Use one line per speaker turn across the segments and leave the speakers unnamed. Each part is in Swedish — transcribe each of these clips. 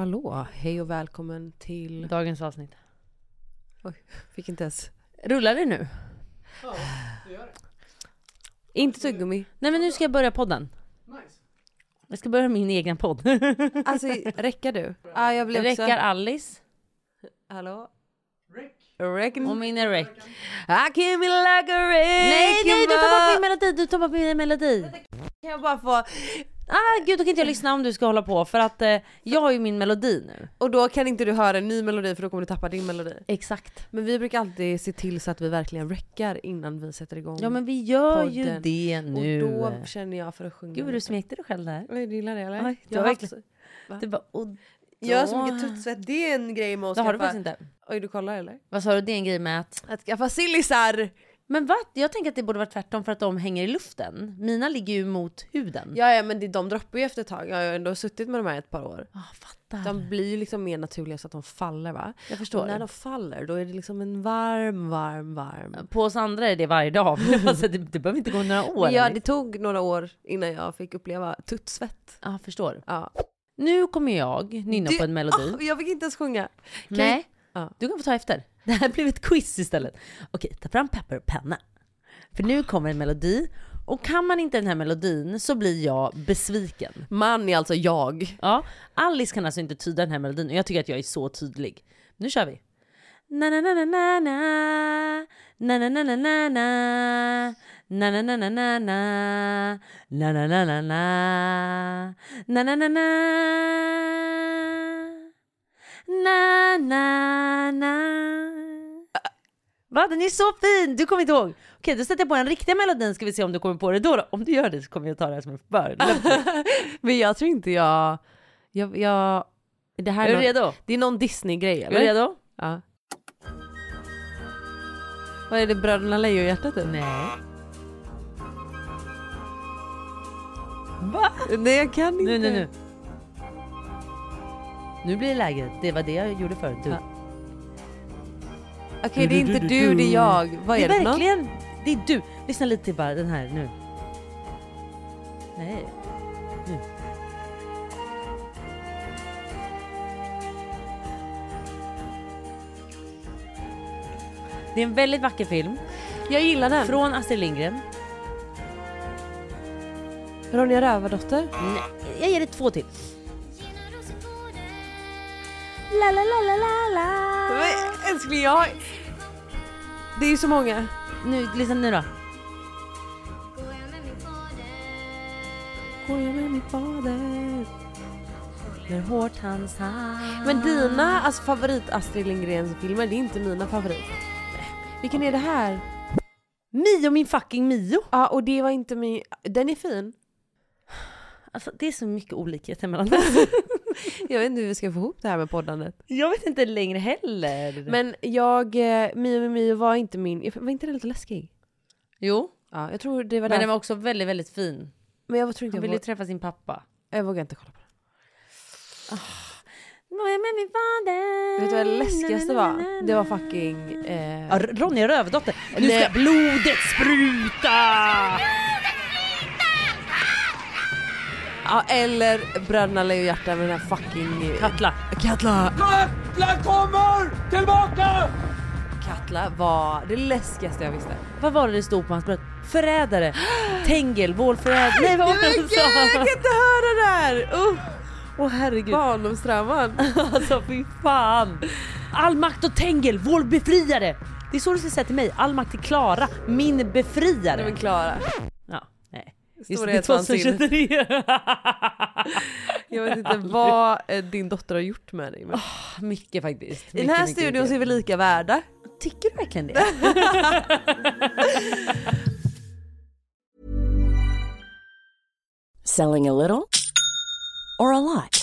Hallå, hej och välkommen till...
Dagens avsnitt.
Fick inte ens...
Rullar det nu?
Inte tuggummi.
Nej men nu ska jag börja podden. Jag ska börja min egen podd.
Alltså, räcker du? ah, jag blev också...
Räckar Alice
Hallå?
och
Räcker...
min är räck.
I came in like a wreck.
Nej nej du tar bort min melodi, du tar bort min melodi.
Kan jag bara få...
Ah gud då kan inte jag lyssna om du ska hålla på för att eh, jag har ju min melodi nu.
Och då kan inte du höra en ny melodi för då kommer du tappa din melodi.
Exakt.
Men vi brukar alltid se till så att vi verkligen räcker innan vi sätter igång.
Ja men vi gör ju
Podden.
det nu. Mm.
Och då känner jag för att sjunga.
Gud vad du smekte dig själv där.
Oj, du gillar det eller?
Oj, du
jag,
har
har haft...
verkligen- Det var och
jag har så mycket tuttsvett, det är en grej med att
Det har du
skaffa...
faktiskt inte.
Oj, du kollar eller? Mm.
Vad sa du, det är en grej med att
Att skaffa sillisar!
men vad? Jag tänker att det borde vara tvärtom för att de hänger i luften. Mina ligger ju mot huden.
Ja, ja men det, de droppar ju efter ett tag. Jag har ju ändå suttit med de här ett par år.
Ah, fattar.
De blir ju liksom mer naturliga så att de faller va?
jag förstår.
Och när de faller då är det liksom en varm, varm, varm.
På oss andra är det varje dag. alltså, det, det behöver inte gå några år.
Men ja, det tog några år innan jag fick uppleva tuttsvett.
Ja, förstår.
Ja.
Nu kommer jag nynna
Du-
på en melodi.
Ah, jag fick inte ens sjunga. kan
Nej,
Ja.
du kan få ta efter. Det här blev ett quiz istället. Okej, ta fram papper och penna. För nu kommer en melodi. Och kan man inte den här melodin så blir jag besviken.
Man är alltså jag.
Ja, Alice kan alltså inte tyda den här melodin och jag tycker att jag är så tydlig. Nu kör vi. Na na na na na na na na na na na na na na na na na na na na na na na na na na na na na na Va? Den är så fin! Du kommer inte ihåg? Okej, då sätter jag på den riktiga melodin ska vi se om du kommer på det då. då. Om du gör det så kommer jag ta det här som en förolämpning.
Men jag tror inte jag... Jag... jag det här är,
Är du
någon,
redo?
det är någon Disney-grej
Är du
eller?
redo?
Ja. Vad är det Bröderna Lejonhjärta typ?
Nej. Va?
Nej jag kan inte.
Nu, nu, nu. Nu blir det läget. Det var det jag gjorde förut. Du.
Ja. Okej det är inte du, det är jag. Vad är
det är
det för något?
verkligen... Det är du. Lyssna lite till bara den här nu. Nej. Nu. Det är en väldigt vacker film.
Jag gillar den.
Från Astrid Lindgren.
Ronja Rövardotter.
Nej, jag ger dig två till. La, la, la, la, la, la.
Men älskling jag... Det är ju så många.
Nu, lyssna nu då.
Går jag med min fader?
Håller hårt hans hand.
Men dina alltså, favorit Astrid Lindgrens filmer, det är inte mina favorit. Vilken är det här?
Mio min fucking Mio.
Ja och det var inte min... Den är fin.
Alltså det är så mycket olikheter mellan oss.
Jag vet inte hur vi ska få ihop det här med poddandet.
jag vet inte längre heller.
Men jag... eh, Mio Mio Mio var inte min... Var inte den lite läskig?
jo,
Ja jag tror det var
men
där.
den var också väldigt, väldigt fin.
Men jag tror inte
Han
jag,
ville ju
våg...
träffa sin pappa.
jag vågar inte kolla på den.
Vad är med min fader?
Vet du vad det läskigaste
Na, na, na,
var?
na, na.
Det var fucking... Eh...
Ja, Ronja Rövdotter. Nu
Nej.
ska blodet spruta!
Ja, eller Bröderna Lejonhjärta med den här fucking...
Katla.
Katla!
Katla kommer tillbaka!
Katla var det läskigaste jag visste.
Vad var det det stod på hans bröst? Förrädare! Tengel, vålförrädare! Nej vad var det han sa?
inte höra det här! Uh,
Åh herregud.
Barndomstrauman.
Alltså fy fan. All makt åt Tengel, vår befriare! Det är så du ska säga till mig. All makt till Klara, min
Nej men
befriare.
Klara.
Ja, nej. Just det, det är
Storhetsvansinne.
2023.
Jag vet inte vad eh, din dotter har gjort med dig. Men...
Ah, Mycket faktiskt.
I den här studion så är vi lika värda.
Tycker du verkligen det?
Selling a little or a lot?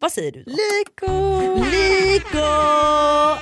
vad säger du då?
Liko!
Lyko!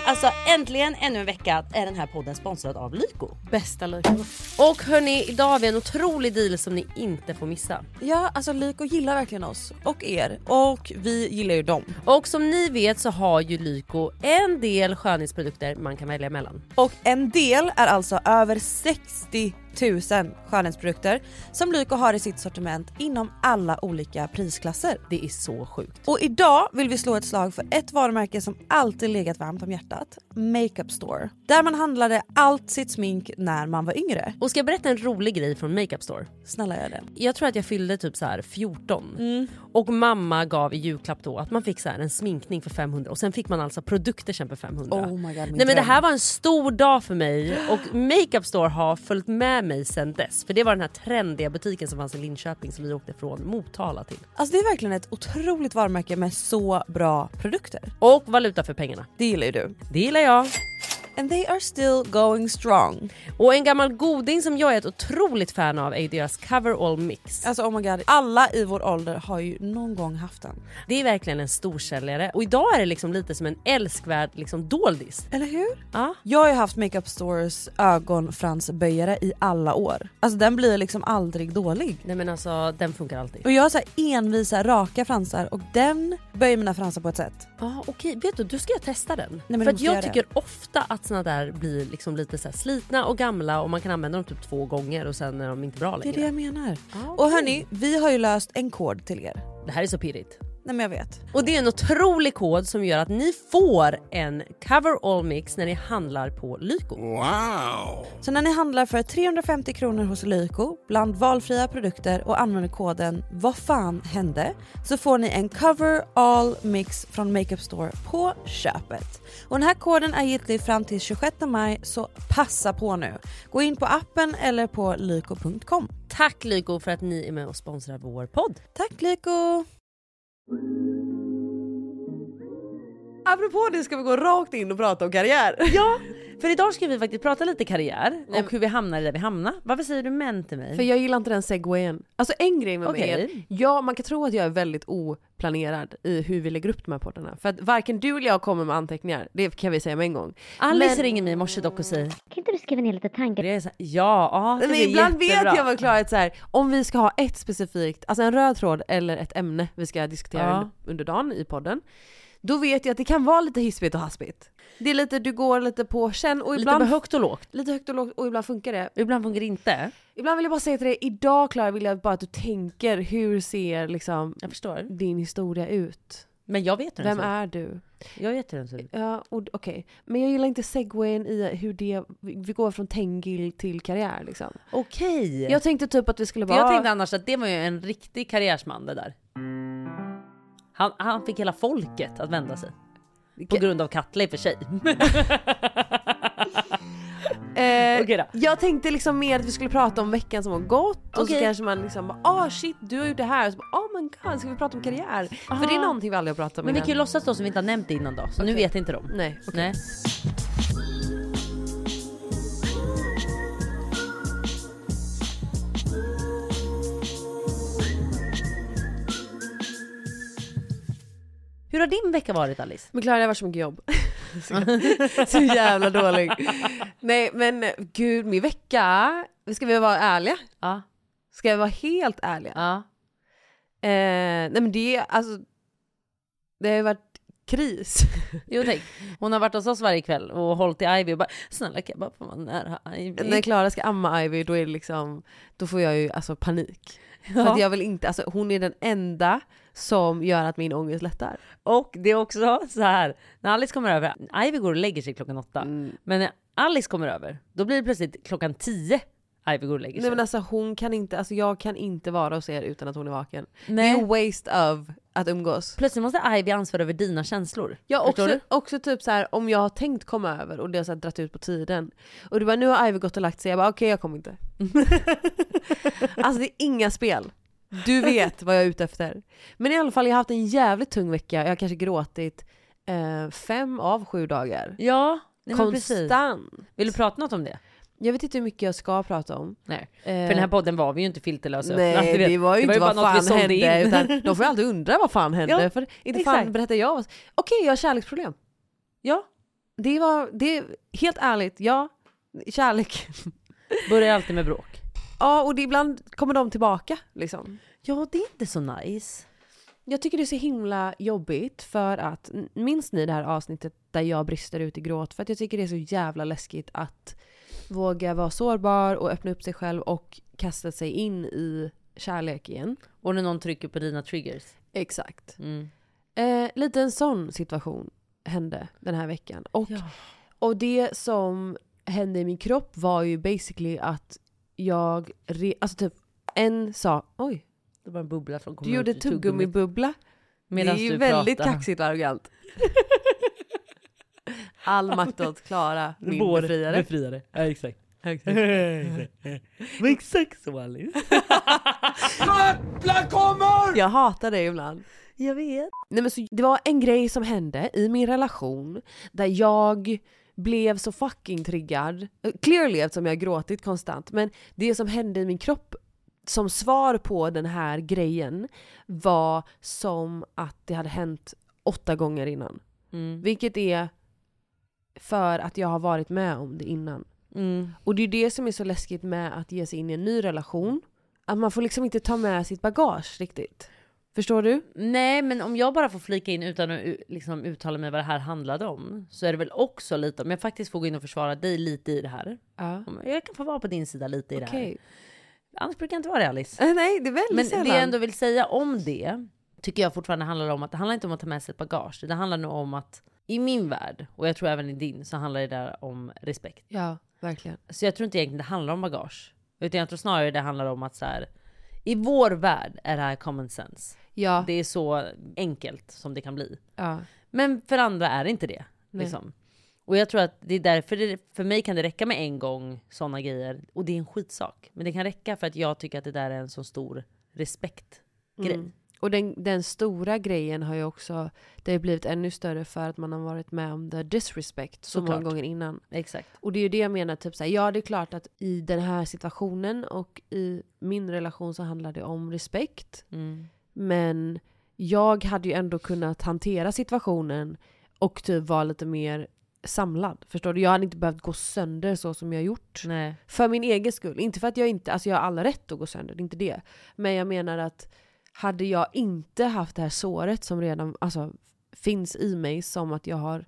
Alltså äntligen ännu en vecka är den här podden sponsrad av Lyko.
Bästa Liko.
Och hörni, idag har vi en otrolig deal som ni inte får missa.
Ja, alltså Liko gillar verkligen oss och er och vi gillar ju dem.
Och som ni vet så har ju Lyko en del skönhetsprodukter man kan välja mellan.
Och en del är alltså över 60 000 skönhetsprodukter som Lyko har i sitt sortiment inom alla olika prisklasser.
Det är så sjukt.
Och idag vill vi slå ett slag för ett varumärke som alltid legat varmt om hjärtat. Makeup Store. Där man handlade allt sitt smink när man var yngre.
Och ska jag berätta en rolig grej från Makeup Store?
Snälla gör det.
Jag tror att jag fyllde typ så här 14
Mm.
och mamma gav i julklapp då att man fick så här en sminkning för 500 och sen fick man alltså produkter sen för 500.
Oh my God, min
Nej men det
dröm.
här var en stor dag för mig och Makeup Store har följt med mig sen dess. För det var den här trendiga butiken som fanns i Linköping som vi åkte från Motala till.
Alltså det är verkligen ett otroligt varumärke med så bra produkter.
Och valuta för pengarna.
Det gillar ju du.
Det gillar jag.
And they are still going strong.
Och en gammal goding som jag är ett otroligt fan av är ju deras Cover All Mix.
Alltså oh my god, alla i vår ålder har ju någon gång haft den.
Det är verkligen en storsäljare och idag är det liksom lite som en älskvärd liksom doldis.
Eller hur?
Ja.
Jag har ju haft Makeup Stores ögonfransböjare i alla år. Alltså den blir liksom aldrig dålig.
Nej men alltså den funkar alltid.
Och jag har så här envisa raka fransar och den böjer mina fransar på ett sätt.
Ja okej, vet du då ska jag testa den.
men du
För att
måste
jag
göra det.
tycker ofta att såna där blir liksom lite så här slitna och gamla och man kan använda dem typ två gånger och sen är de inte bra
Det är
längre.
det jag menar. Och hörni, vi har ju löst en kod till er.
Det här är så pirrigt.
Nej men jag vet.
Och det är en otrolig kod som gör att ni får en cover all mix när ni handlar på Lyko.
Så när ni handlar för 350 kronor hos Lyko bland valfria produkter och använder koden Vad fan hände? Så får ni en cover all mix från Makeup Store på köpet. Och den här koden är giltig fram till 26 maj så passa på nu. Gå in på appen eller på lyko.com.
Tack Lyko för att ni är med och sponsrar vår podd.
Tack Lyko!
Apropå det ska vi gå rakt in och prata om karriär.
Ja, för idag ska vi faktiskt prata lite karriär och hur vi hamnar där vi hamnar. Varför säger du män till mig?
För jag gillar inte den segwayen. Alltså en grej med mig är,
Okej.
ja man kan tro att jag är väldigt oplanerad i hur vi lägger upp de här poddarna. För att varken du eller jag kommer med anteckningar, det kan vi säga med en gång.
Alice ringer mig i morse dock och säger
Kan inte du skriva ner lite tankar?
det är så här, ja, ja, det
Men
är
ibland
jättebra.
vet jag vad Klara är så här, om vi ska ha ett specifikt, alltså en röd tråd eller ett ämne vi ska diskutera
Ja.
under, under dagen i podden. Då vet jag att det kan vara lite hispigt och haspigt. Det är lite, du går lite på känn och
Lite
ibland...
med högt och lågt.
lite högt och lågt och ibland funkar det.
Ibland funkar det inte.
Ibland vill jag bara säga till dig, idag Klara vill jag bara att du tänker, hur ser liksom
Jag förstår.
din historia ut?
Men jag vet hur den
Vem
ser ut.
är Mm. du?
Jag vet hur den ser ut.
Ja, och- okej. Men jag gillar inte segwayen i hur det, vi vi går från Tengil till karriär liksom.
Okej. Jag,
Jag tänkte typ att vi skulle
för
bara...
jag tänkte annars att det var ju en riktig karriärsman det där. Han, han fick hela folket att vända sig. På grund av Katla i och för sig.
Eh,
Okej då.
Jag tänkte liksom mer att vi skulle prata om veckan som har gått och så
Okej.
kanske man liksom bara ah shit du har gjort det här och så bara, oh my god ska vi prata om karriär? För det är någonting vi aldrig har pratat om
Men vi
innan.
kan ju låtsas då som vi inte har nämnt det innan då. Så nu vet inte de.
Nej,
Nej. Hur har din vecka varit Alice?
Men Klara, det har varit så mycket jobb. så jävla dålig. Nej men gud, min vecka. Ska vi vara ärliga?
Ja.
Ska vi vara helt ärliga?
Ja.
Eh, nej men det, alltså. Det har ju varit kris.
Jo tänk, hon har varit hos oss varje kväll och hållit i Ivy och bara “snälla kan jag bara få vara nära Ivy?”
När Klara ska amma Ivy då är det liksom, då får jag ju alltså panik. För
Ja.
att jag vill inte, alltså hon är den enda som gör att min ångest lättar.
Och det är också så här, när Alice kommer över, Ivy går och lägger sig klockan åtta.
Mm.
Men när Alice kommer över, då blir det plötsligt klockan tio Ivy går och lägger sig.
Nej men alltså hon kan inte, alltså jag kan inte vara hos er utan att hon är vaken.
Nej.
Det är waste of att umgås.
Plötsligt måste Ivy ansvara över dina känslor.
Ja
Förstår
också,
du?
också typ så här om jag har tänkt komma över och det har så här dratt ut på tiden. Och du bara nu har Ivy gått och lagt sig, jag bara okej jag kommer inte. alltså det är inga spel. Du vet vad jag är ute efter. Men i alla fall jag har haft en jävligt tung vecka, jag har kanske gråtit eh, fem av sju dagar.
Ja, nej, men precis.
Konstant.
Vill du prata något om det?
Jag vet inte hur mycket jag ska prata om.
Nej.
Eh,
För den här podden var vi ju inte filterlösa.
Nej
Du vet,
det var ju inte
bara
vad
något vi
fan
sålde
hände.
in.
Utan de får ju alltid undra vad fan hände.
Ja,
för inte
exakt.
fan berättar jag. vad- Okej jag har kärleksproblem.
Ja,
Det var, det, helt ärligt, ja. Kärlek.
börjar alltid med bråk.
Ja och det, ibland kommer de tillbaka liksom.
Ja, det är inte så nice.
Jag tycker det är så himla jobbigt för att, n- minns ni det här avsnittet där jag brister ut i gråt? För att jag tycker det är så jävla läskigt att våga vara sårbar och öppna upp sig själv och kasta sig in i kärlek igen.
Och när någon trycker på dina triggers.
Exakt.
Mm.
Eh, lite en sån situation hände den här veckan. Och, och det som hände i min kropp var ju basically att jag, re- alltså typ en sa, oj,
Det var en bubbla som kom
du gjorde
ut ur tuggummit
tuggummibubbla.
medan
det är ju
du
väldigt
pratade.
kaxigt och arrogant. All makt åt Klara, min
Vår
befriare.
befriare. Ja, exakt. Men exakt så Alice.
Jäklar kommer!
Jag hatar dig ibland.
Jag vet.
Nej, men så, det var en grej som hände i min relation där jag blev så fucking triggad. Eh, Clearly eftersom jag har gråtit konstant. Men det som hände i min kropp som svar på den här grejen var som att det hade hänt åtta gånger innan.
Mm.
Vilket är för att jag har varit med om det innan.
Mm.
Och det är det som är så läskigt med att ge sig in i en ny relation. Att man får liksom inte ta med sitt bagage riktigt. Förstår du?
Nej, men om jag bara får flika in utan att u- liksom, uttala mig vad det här handlade om så är det väl också lite om jag faktiskt får gå in och försvara dig lite i det här.
Ja.
Om- Jag kan få vara på din sida lite i det
Okej.
här. Annars brukar jag inte vara det Alice.
Eh, Nej, det är väldigt
Men
sällan.
det jag ändå vill säga om det tycker jag fortfarande handlar om att det handlar inte om att ta med sig ett bagage. Det handlar nog om att i min värld och jag tror även i din så handlar det där om respekt.
Ja, verkligen.
Så jag tror inte egentligen det handlar om bagage. Utan jag tror snarare det handlar om att så här, i vår värld är det här common sense.
Ja,
Det är så enkelt som det kan bli.
ja.
Men för andra är det inte det. Liksom. Och jag tror att det är därför det, för mig kan det räcka med en gång sådana grejer. Och det är en skitsak. Men det kan räcka för att jag tycker att det där är en så stor respektgrej.
Och den, den stora grejen har ju också, det har ju blivit ännu större för att man har varit med om the disrespect så många
Såklart.
gånger innan.
Exakt.
Och det är ju det jag menar, typ såhär, ja det är klart att i den här situationen och i min relation så handlar det om respekt.
Mm.
Mm.
Men jag hade ju ändå kunnat hantera situationen och typ vara lite mer samlad. Förstår du? Jag hade inte behövt gå sönder så som jag gjort.
Nej.
För min egen skull. Inte för att jag inte, alltså jag har all rätt att gå sönder, det är inte det. Men jag menar att hade jag inte haft det här såret som redan alltså, finns i mig, som att jag har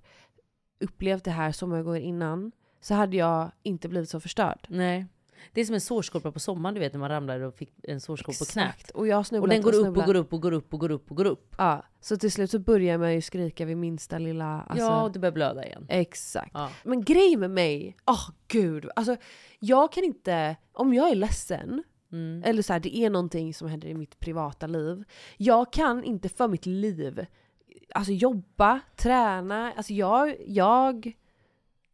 upplevt det här så många gånger innan, så hade jag inte blivit så förstörd.
Nej. Det är som en sårskorpa på sommaren, du vet när man ramlade och fick en sårskorpa på knät.
Och jag har snubblat
Och den går upp och
snubblat.
går upp och går upp och går upp och går upp.
Ja, så till slut så börjar man ju skrika vid minsta lilla... Alltså,
Ja, och det börjar blöda igen.
Exakt.
Ja.
Men grejen med mig, åh gud. Alltså, jag kan inte, om jag är ledsen,
Mm.
eller så här, det är någonting som händer i mitt privata liv. Jag kan inte för mitt liv alltså jobba, träna, alltså jag, jag,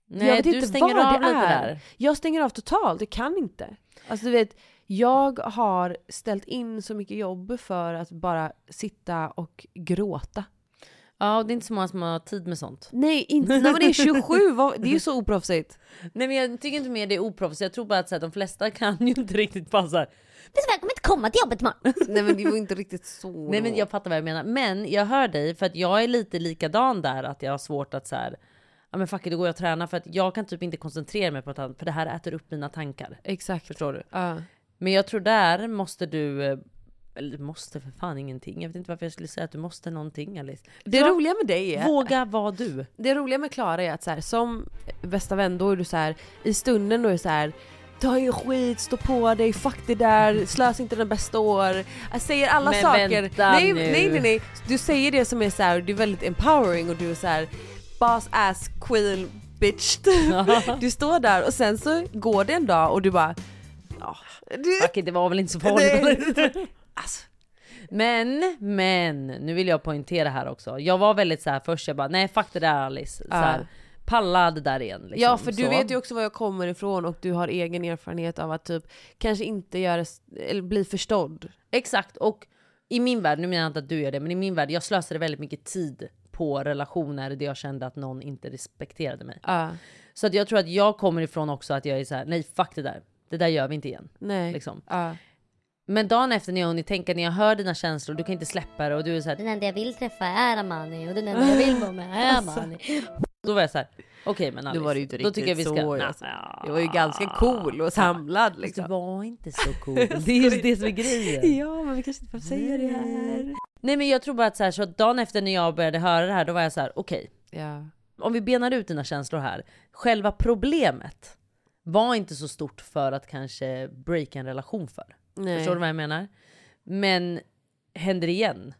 Nej,
jag vet
du
inte
stänger
vad
av
det
lite
är.
där.
Jag stänger av totalt, jag kan inte. Alltså du vet, jag har ställt in så mycket jobb för att bara sitta och gråta.
Ja, och det är inte så många som har tid med sånt.
Nej, inte när man är 27. Vad, det är ju så oproffsigt.
Nej, men jag tycker inte mer det är oproffsigt. Jag tror bara att så här, de flesta kan ju inte riktigt passa.
Dessvärre kommer jag inte komma till jobbet imorgon.
Nej, men det var inte riktigt så.
Nej, men
då.
jag fattar vad jag menar. Men jag hör dig för att jag är lite likadan där att jag har svårt att så här. Ja, men fuck it, då går jag och tränar för att jag kan typ inte koncentrera mig på något annat för det här äter upp mina tankar.
Exakt.
Förstår du?
Ja.
Men jag tror där måste du, eh, eller måste för fan ingenting. Jag vet inte varför jag skulle säga att du måste någonting Alice.
Det
Så,
roliga med dig är,
Våga vara du.
det roliga med Klara är att så här, som bästa vän då är du så här, i stunden då är du så här Ta ju skit, stå på dig, fuck det där, slösa inte dina bästa år. Jag säger alla
Men
saker.
vänta
nej,
nu.
nej nej nej. Du säger det som är så här, du är väldigt empowering och du är så här boss ass queen bitch. du står där och sen så går det en dag och du bara ja. Du,
Fuck it, det var väl inte så farligt. Alltså. Men, men, nu vill jag poängtera här också. Jag var väldigt så här först, jag bara nej fuck det där Alice. Så här, palla det där igen. Liksom.
Ja för du
så.
vet ju också var jag kommer ifrån och du har egen erfarenhet av att typ kanske inte göra, eller bli förstådd.
Exakt, och i min värld, nu menar jag inte att du gör det, men i min värld, jag slösade väldigt mycket tid på relationer där jag kände att någon inte respekterade mig.
Ja,
Så att jag tror att jag kommer ifrån också att jag är så här, nej fuck det där, det där gör vi inte igen.
nej.
Liksom.
Ja.
Men dagen efter när jag hunnit tänka, när jag hör dina känslor, du kan inte släppa det och du är så här,
Den enda jag vill träffa är Amani och den enda jag vill vara med är Amani.
då var jag så här, okej men Alice,
Då var det ju inte
då tycker jag vi
riktigt
ska,
så,
Nej.
alltså. Jag var ju ganska cool och samlad
Det
liksom.
var inte så cool. Det är just det som är grejen.
Ja men vi kanske inte behöver säga det här.
Nej men jag tror bara att så här, så att dagen efter när jag började höra det här, då var jag så här, okej,
Ja.
om vi benar ut dina känslor här. Själva problemet var inte så stort för att kanske breaka en relation för.
Nej.
Förstår du vad jag menar? Men händer det igen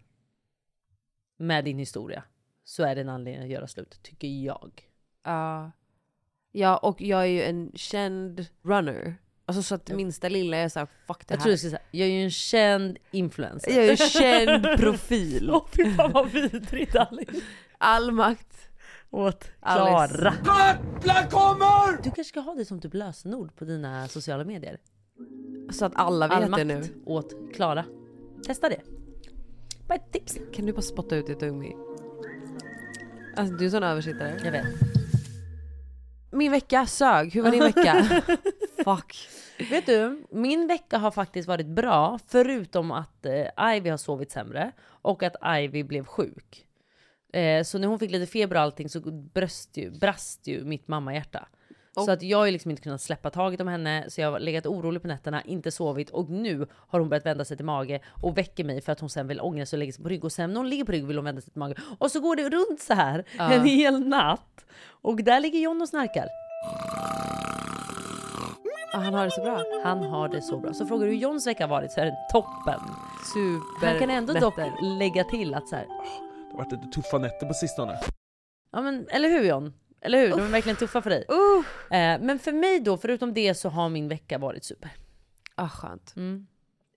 med din historia så är det en anledning att göra slut, tycker jag.
Ja. ja och jag är ju en känd runner. Alltså så att det minsta lilla är såhär fuck det
Jag
här.
tror du skulle säga, jag är ju en känd influencer.
jag är ju känd profil.
Åh fy fan vad vidrigt Alice.
All makt.
Åt
Alice.
Klara.
Böttlar kommer!
Du kanske ska ha det som typ lösenord på dina sociala medier.
Så att alla vet
All
det
makt
nu.
åt Klara. Testa det. Bara ett tips.
Kan du bara spotta ut ditt ummi? Alltså du är sån översittare.
Jag vet.
Min vecka sög, hur var din vecka? Fuck.
Vet du, min vecka har faktiskt varit bra förutom att eh, Ivy har sovit sämre och att Ivy blev sjuk. Eh, så när hon fick lite feber och allting så bröst ju, brast ju mitt mammahjärta. Så att jag har ju liksom inte kunnat släppa taget om henne så jag har legat orolig på nätterna, inte sovit och nu har hon börjat vända sig till mage och väcker mig för att hon sen vill ångra sig och lägga sig på rygg och sen när hon ligger på rygg vill hon vända sig till mage och så går det runt så här en hel natt och där ligger John och snarkar.
Ah, han har det så bra.
Han har det så bra. Så frågar du hur Johns vecka har varit så är det toppen.
Super.
Han kan ändå dock
nätter.
lägga till att så här,
Det har varit lite tuffa nätter på sistone.
ja men eller hur John? Eller hur? De är verkligen tuffa för dig.
Uh.
Eh, men för mig då, förutom det så har min vecka varit super.
Ah, skönt.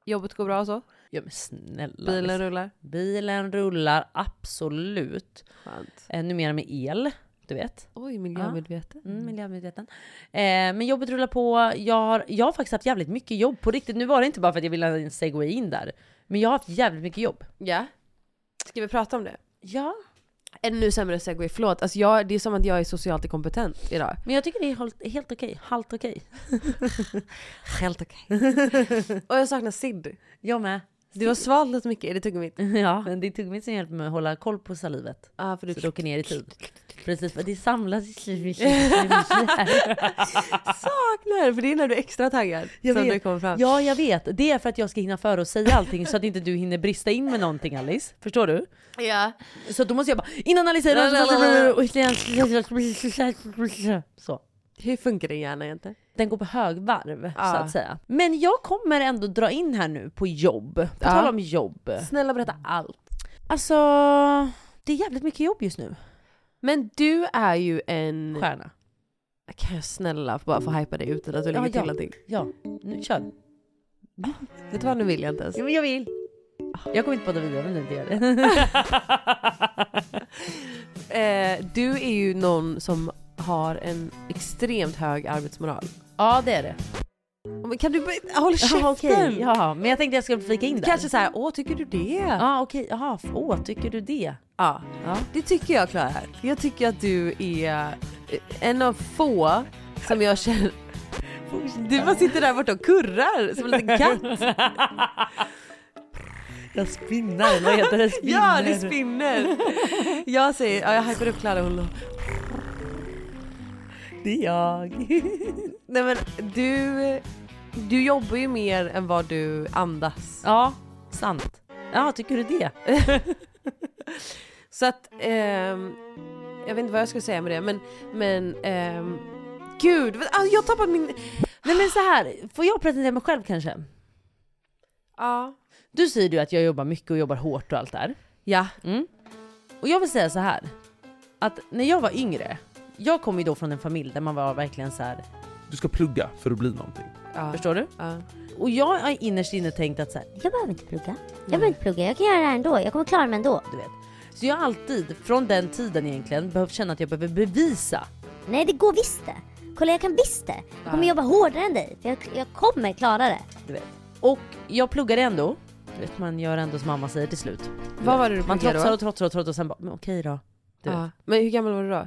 Jobbet går bra och så?
Ja men snälla.
Bilen
Alice.
rullar?
Bilen rullar absolut.
Skönt.
Eh, numera med el, du vet.
Oj, miljömedveten.
Mm, miljömedveten. Eh, men jobbet rullar på. Jag har, jag har faktiskt haft jävligt mycket jobb på riktigt. Nu var det inte bara för att jag ville ha en segway in där. Men jag har haft jävligt mycket jobb.
Ja. Ska vi prata om det?
Ja.
Ännu sämre segway, förlåt. Alltså jag, det är som att jag är socialt inkompetent idag.
Men jag tycker det är helt, helt okej. Halt okej.
Helt okej. och jag saknar Sid.
Jag med.
Du har svalt lite mycket, är det tuggummit?
Ja. Men det är tuggummit som hjälper mig att hålla koll på salivet.
Ja, ah, för
Så
du
det åker ner i tid. Precis, för det samlas i
saknar, för det är när du är extra taggad
Jag
som
vet.
du kommer fram.
Ja, jag vet. Det är för att jag ska hinna före och säga allting så att inte du hinner brista in med någonting Alice. Förstår du?
Ja.
Så då måste jag bara, innan Alice säger Så.
Hur funkar din hjärna egentligen?
Den går på högvarv
Ja.
så att säga. Men jag kommer ändå dra in här nu på jobb. På
Ja.
tal om jobb.
Snälla berätta allt.
Alltså, det är jävligt mycket jobb just nu.
Men du är ju en...
Stjärna.
Kan jag snälla få bara få hypa dig utan att du lägger
Ja,
till
ja.
någonting?
Ja, nu kör.
Vet du vad, nu vill jag inte ens.
Ja, men jag vill. Jag kommer inte podda vidare om du inte gör det.
Eh, du är ju någon som har en extremt hög arbetsmoral.
ja, det är det.
Ja, men Kan du börja- Håll käften!
Jaha, okej. Ja, men jag tänkte jag skulle flika in där.
Kanske så här, åh tycker du det?
Ja, okej. Jaha, f- åh, tycker du det?
Ja.
Ja.
Det tycker jag Klara. Jag tycker att du är eh, en av få som jag känner... Du bara sitter där borta och kurrar som en liten katt.
Jag spinnar, vad heter det? Spinner.
Ja, det spinner. Jag säger, ja, jag hypar upp Klara hon...
Det är jag.
Nej men du, du jobbar ju mer än vad du andas.
Ja, sant. Ja, tycker du det?
Så att, ehm, jag vet inte vad jag ska säga med det men, men ehm, gud, vad- ah, jag har tappat min...
Nej men så här, får jag presentera mig själv kanske?
Ja.
Du säger ju att jag jobbar mycket och jobbar hårt och allt där.
Ja.
Och jag vill säga så här. Att när jag var yngre, jag kom ju då från en familj där man var verkligen så här.
Du ska plugga för att bli någonting.
ja.
förstår du?
Ja.
Och jag har innerst inne tänkt att så här,
Jag behöver inte plugga. Jag behöver inte plugga. Jag kan göra det här ändå. Jag kommer klara mig ändå.
du vet. Så jag har alltid, från den tiden egentligen, behövt känna att jag behöver bevisa.
Nej, det går visst det. Kolla, jag kan visst det. Jag kommer jobba hårdare än dig. För jag, jag kommer klara det.
Du vet. Och jag pluggade ändå. Du vet, man gör ändå som mamma säger till slut.
Vad var det du
Man typ.
pluggade
trotsar
då?
och trotsar och trotsar och sen bara, men okej då. du vet.
Ja. Men hur gammal var du då?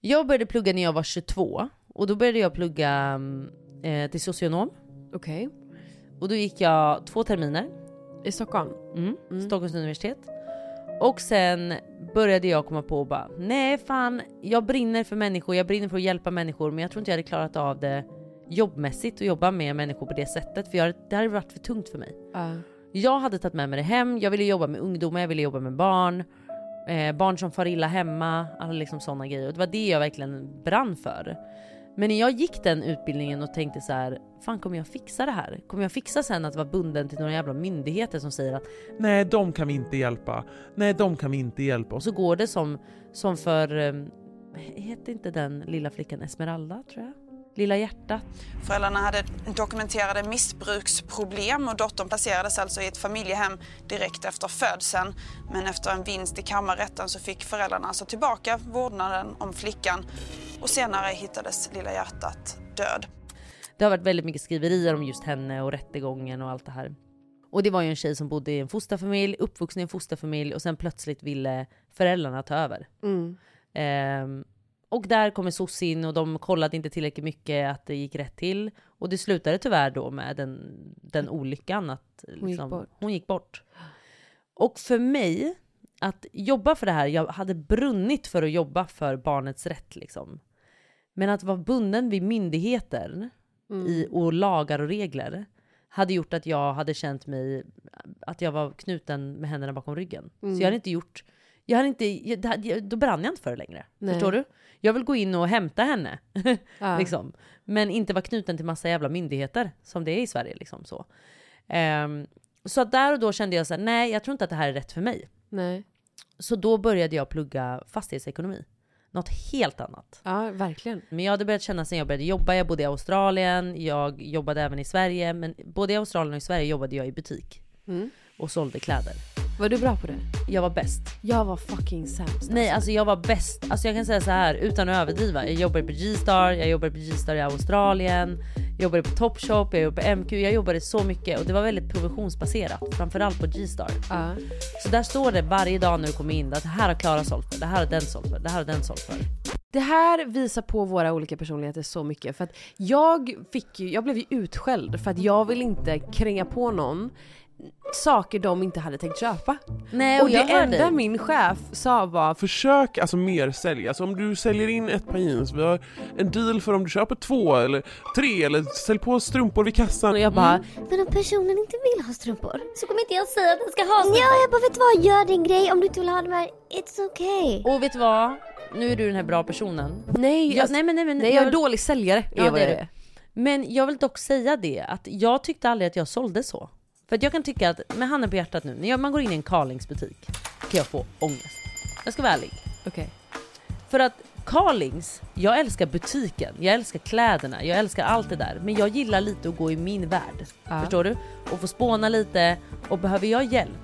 Jag började plugga när jag var 22 och då började jag plugga mm, eh, till socionom.
Okej.
Och då gick jag två terminer,
I Stockholm?
mm,
Mm.
Stockholms universitet. Och sen började jag komma på och bara, nej fan, jag brinner för människor, jag brinner för att hjälpa människor, men jag tror inte jag hade klarat av det jobbmässigt och jobba med människor på det sättet, för jag, det hade varit för tungt för mig.
Ja.
Jag hade tagit med mig det hem, jag ville jobba med ungdomar, jag ville jobba med barn, eh, barn som far illa hemma, alla liksom sådana grejer. Och det var det jag verkligen brann för. Men när jag gick den utbildningen och tänkte så här, fan kommer jag fixa det här? Kommer jag fixa sen att vara bunden till några jävla myndigheter som säger att,
Nej, de kan vi inte hjälpa. Nej, de kan vi inte hjälpa.
och
Och så
så går det som, som för, eh, hette inte den lilla flickan Esmeralda tror jag? Lilla hjärtat.
Föräldrarna hade dokumenterade missbruksproblem och dottern placerades alltså i ett familjehem direkt efter födseln. Men efter en vinst i kammarrätten så fick föräldrarna alltså tillbaka vårdnaden om flickan och senare hittades lilla hjärtat död.
Det har varit väldigt mycket skriverier om just henne och rättegången och allt det här. Och det var ju en tjej som bodde i en fosterfamilj, uppvuxen i en fosterfamilj och sen plötsligt ville föräldrarna ta över.
Mm.
Ehm, och där kommer soc in och de kollade inte tillräckligt mycket att det gick rätt till. Och det slutade tyvärr då med den, den olyckan att liksom,
gick bort.
hon gick bort. Och för mig, att jobba för det här, jag hade brunnit för att jobba för barnets rätt liksom. Men att vara bunden vid myndigheter
Mm.
i, och lagar och regler hade gjort att jag hade känt mig, att jag var knuten med händerna bakom ryggen.
Mm.
Så jag hade inte gjort, jag hade inte, jag, det hade- jag, då brann jag inte för det längre.
Nej.
Förstår du? Jag vill gå in och hämta henne,
Ja.
liksom. men inte vara knuten till massa jävla myndigheter som det är i Sverige. Liksom, så Ehm, så att där och då kände jag så här, nej jag tror inte att det här är rätt för mig.
Nej.
Så då började jag plugga fastighetsekonomi. Något helt annat.
Ja, verkligen.
Men jag hade börjat känna sen jag började jobba. Jag bodde i Australien, jag jobbade även i Sverige. Men både i Australien och i Sverige jobbade jag i butik.
Mm.
Och sålde kläder.
Var du bra på det?
Jag var bäst.
Jag var fucking sämst.
Nej alltså jag var bäst. Alltså jag kan säga så här utan att överdriva. Jag jobbade på G-star, jag jobbade på G-star i Australien. Jag jobbade på Topshop, jag jobbade på MQ. Jag jobbade så mycket och det var väldigt provisionsbaserat. Framförallt på G-star.
Ja.
Så där står det varje dag när du kommer in att det här har Klara sålt för, det här har den sålt för, det här har den sålt för.
Det här visar på våra olika personligheter så mycket. För att jag, fick ju, jag blev ju utskälld för att jag vill inte kränga på någon saker de inte hade tänkt köpa.
Nej
och det enda min chef sa var
försök alltså mer sälja. Alltså om du säljer in ett par jeans, vi har en deal för om du köper två eller tre eller sälj på strumpor vid kassan.
och
Mm.
jag bara
Men om personen inte vill ha strumpor så kommer inte jag säga att den ska ha strumpor. Ja, jag bara vet du vad, gör din grej. Om du inte vill ha de här, it's okay.
Och vet du vad? Nu är du den här bra personen.
nej,
Jag,
jag,
nej men nej men.
nej, jag är
vill-
dålig säljare.
Ja,
är vad
det är
jag
du. Men jag vill dock säga det att jag tyckte aldrig att jag sålde så. För att jag kan tycka att, med handen på hjärtat nu, när jag, man går in i en Carlingsbutik kan jag få ångest. Jag ska vara ärlig.
Okej.
För att Carlings, jag älskar butiken, jag älskar kläderna, jag älskar allt det där. Men jag gillar lite att gå i min värld.
Ja.
Förstår du? Och få spåna lite. Och behöver jag hjälp,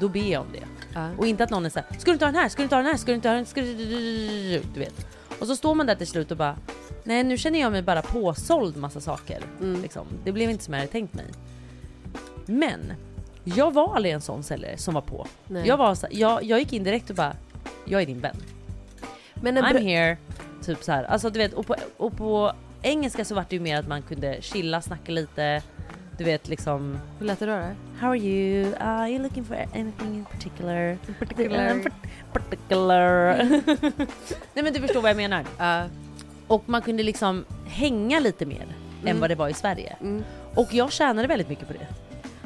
då ber jag om det.
Ja.
Och inte att någon är såhär, ska du inte ha den här, ska du inte ha den här, ska du inte ha den, ska du... Du vet. Och så står man där till slut och bara, nej nu känner jag mig bara påsåld massa saker. Liksom. Det blev inte som jag hade tänkt mig. Men, jag var aldrig en sån säljare som var på.
Nej.
Jag, var så, jag, jag gick in direkt och bara, jag är din vän.
Men
Men
en
I'm
bra-
here. Typ så här. Alltså du vet, och på, och på engelska så var det ju mer att man kunde chilla, snacka lite. Du vet liksom...
Hur lät det då? då?
How are you? Uh, are you looking for anything in particular? In
particular.
particular. Nej men du förstår vad jag menar. Uh, Och man kunde liksom hänga lite mer än
Mm.
vad det var i Sverige. Och jag tjänade väldigt mycket på det.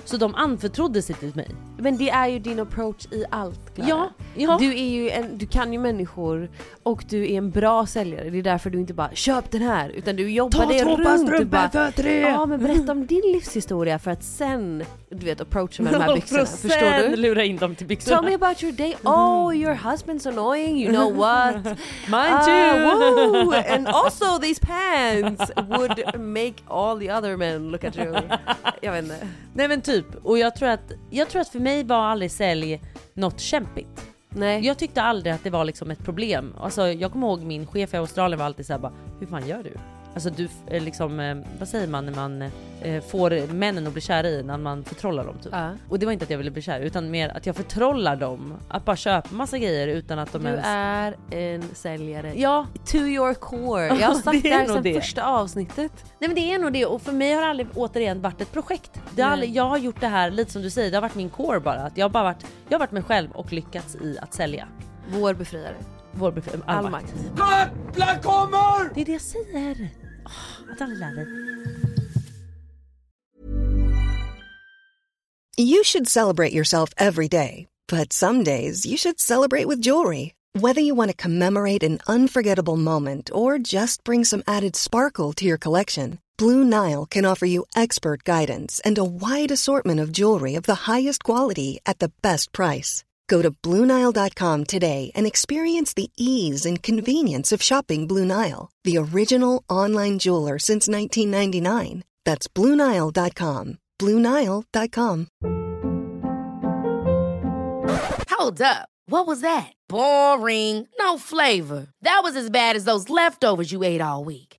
Så de anförtrodde sig till mig.
Men det är ju din approach i allt Klara.
Ja, ja.
Du, är ju en, du kan ju människor och du är en bra säljare. Det är därför du inte bara “köp den här” utan du jobbar
Ta
det
två par
runt.
strumpor
Du bara,
för tre.
Ja men berätta om din livshistoria för att sen, du vet approacha med de här byxorna.
Och
Förstår
sen Mm.
du?
lura in dem till byxorna.
Tell me about your day. Oh, your husband's annoying. You know what?
Mine
Ah,
too.
woo. And also these pants would make all the other men look at you. Jag vet inte.
Nej men typ, och jag tror att, jag tror att för mig var aldrig sälj något kämpigt.
Nej.
Jag tyckte aldrig att det var liksom ett problem. Alltså, jag kommer ihåg min chef i Australien var alltid såhär bara, hur fan gör du? Alltså du f- eh, liksom, eh, vad säger man när man eh, får männen att bli kära i när man förtrollar dem typ.
Ja.
Och det var inte att jag ville bli kär utan mer att jag förtrollar dem. Att bara köpa massa grejer utan att de
Du
ens...
är en säljare.
Ja.
To your core. Jag
Ja,
har sagt
det
det
är
här
nog
sedan
det.
första avsnittet.
Nej men det är nog det och för mig har det aldrig återigen varit ett projekt. Det har
Nej.
aldrig, jag har gjort det här lite som du säger, det har varit min core bara. Att jag, har bara varit, jag har varit mig själv och lyckats i att sälja.
Vår befriare.
Vår bef- all,
All
makt.
makt.
Jävlar kommer!
Det är det jag säger! Åh, att aldrig lära dig.
You should celebrate yourself every day, but some days you should celebrate with jewelry. Whether you want to commemorate an unforgettable moment or just bring some added sparkle to your collection, Blue Nile can offer you expert guidance and a wide assortment of jewelry of the highest quality at the best price. Go to BlueNile.com today and experience the ease and convenience of shopping Blue Nile, the original online jeweler since 1999. That's BlueNile.com. BlueNile.com.
Hold up. What was that? Boring. No flavor. That was as bad as those leftovers you ate all week.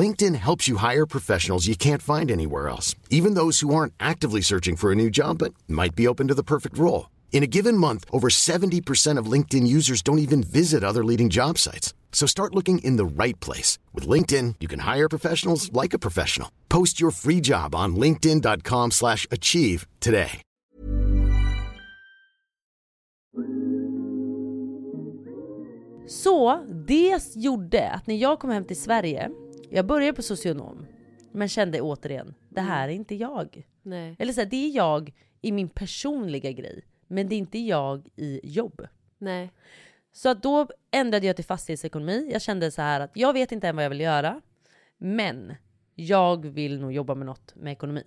LinkedIn helps you hire professionals you can't find anywhere else, even those who aren't actively searching for a new job but might be open to the perfect role. In a given month, over 70% of LinkedIn users don't even visit other leading job sites. So start looking in the right place. With LinkedIn, you can hire professionals like a professional. Post your free job on linkedin.com/achieve slash achieve today.
Så det gjorde att när jag kom hem till Sverige, jag började på socionom, men kände återigen, det här är inte jag.
Mm. Nej.
Eller så här, det är jag i min personliga grej, men det är inte jag i jobb.
Nej.
Så att då ändrade jag till fastighetsekonomi. Jag kände så här att jag vet inte än vad jag vill göra, men jag vill nog jobba med något med ekonomi.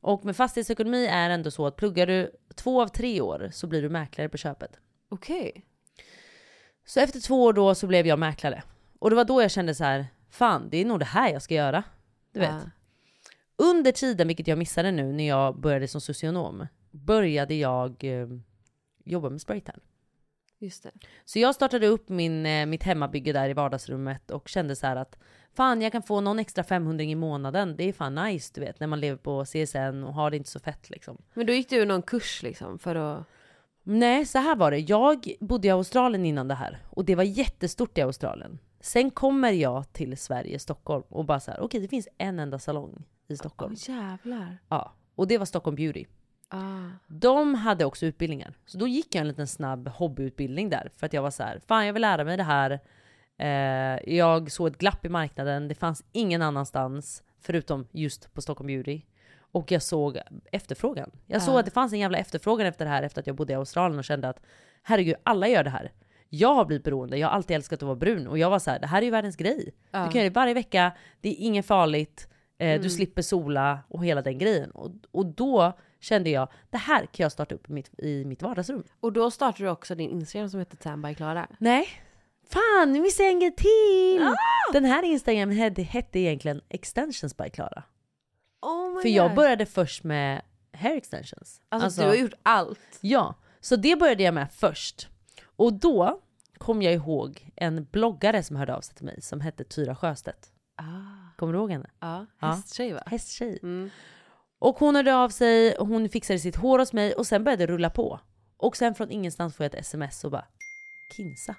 Och med fastighetsekonomi är ändå så att pluggar du två av tre år så blir du mäklare på köpet.
Okej.
Så efter två år då så blev jag mäklare. Och det var då jag kände så här, fan det är nog det här jag ska göra. Du vet. Under tiden, vilket jag missade nu när jag började som socionom, började jag eh, jobba med spraytan.
Just det.
Så jag startade upp min, eh, mitt hemmabygge där i vardagsrummet och kände så här att fan jag kan få någon extra 500 i månaden. Det är fan nice du vet när man lever på CSN och har det inte så fett liksom.
Men då gick du någon kurs liksom för att...
Nej, så här var det. Jag bodde i Australien innan det här och det var jättestort i Australien. Sen kommer jag till Sverige, Stockholm och bara så här, okej det finns en enda salong i Stockholm.
jävlar.
Oh, Ja, och det var Stockholm Beauty.
Ah.
De hade också utbildningar. Så då gick jag en liten snabb hobbyutbildning där. För att jag var så här, fan jag vill lära mig det här. Eh, jag såg ett glapp i marknaden, det fanns ingen annanstans förutom just på Stockholm Beauty. Och jag såg efterfrågan. Jag såg
Ja.
att det fanns en jävla efterfrågan efter det här efter att jag bodde i Australien och kände att herregud, alla gör det här. Jag har blivit beroende, jag har alltid älskat att vara brun och jag var så här, det här är ju världens grej.
Ja.
Du kan göra det varje vecka, det är inget farligt. Eh,
Mm.
Du slipper sola och hela den grejen. Och, och då kände jag, det här kan jag starta upp i mitt, i mitt vardagsrum.
Och då startade du också din Instagram som heter Tan by Klara.
Nej. Fan, nu missade jag en grej till! Den här Instagram hette, hette egentligen Extensions by Klara.
Oh my
För jag
God.
började först med hair extensions.
Alltså, du har gjort allt.
Ja, så det började jag med först. Och då kom jag ihåg en bloggare som hörde av sig till mig som hette Tyra Sjöstedt. Kommer du ihåg henne?
Ah, Ja,
hästtjej va? Hästtjej. Och hon hörde av sig, hon fixade sitt hår hos mig och sen började det rulla på. Och sen från ingenstans får jag ett sms och bara Kinsa.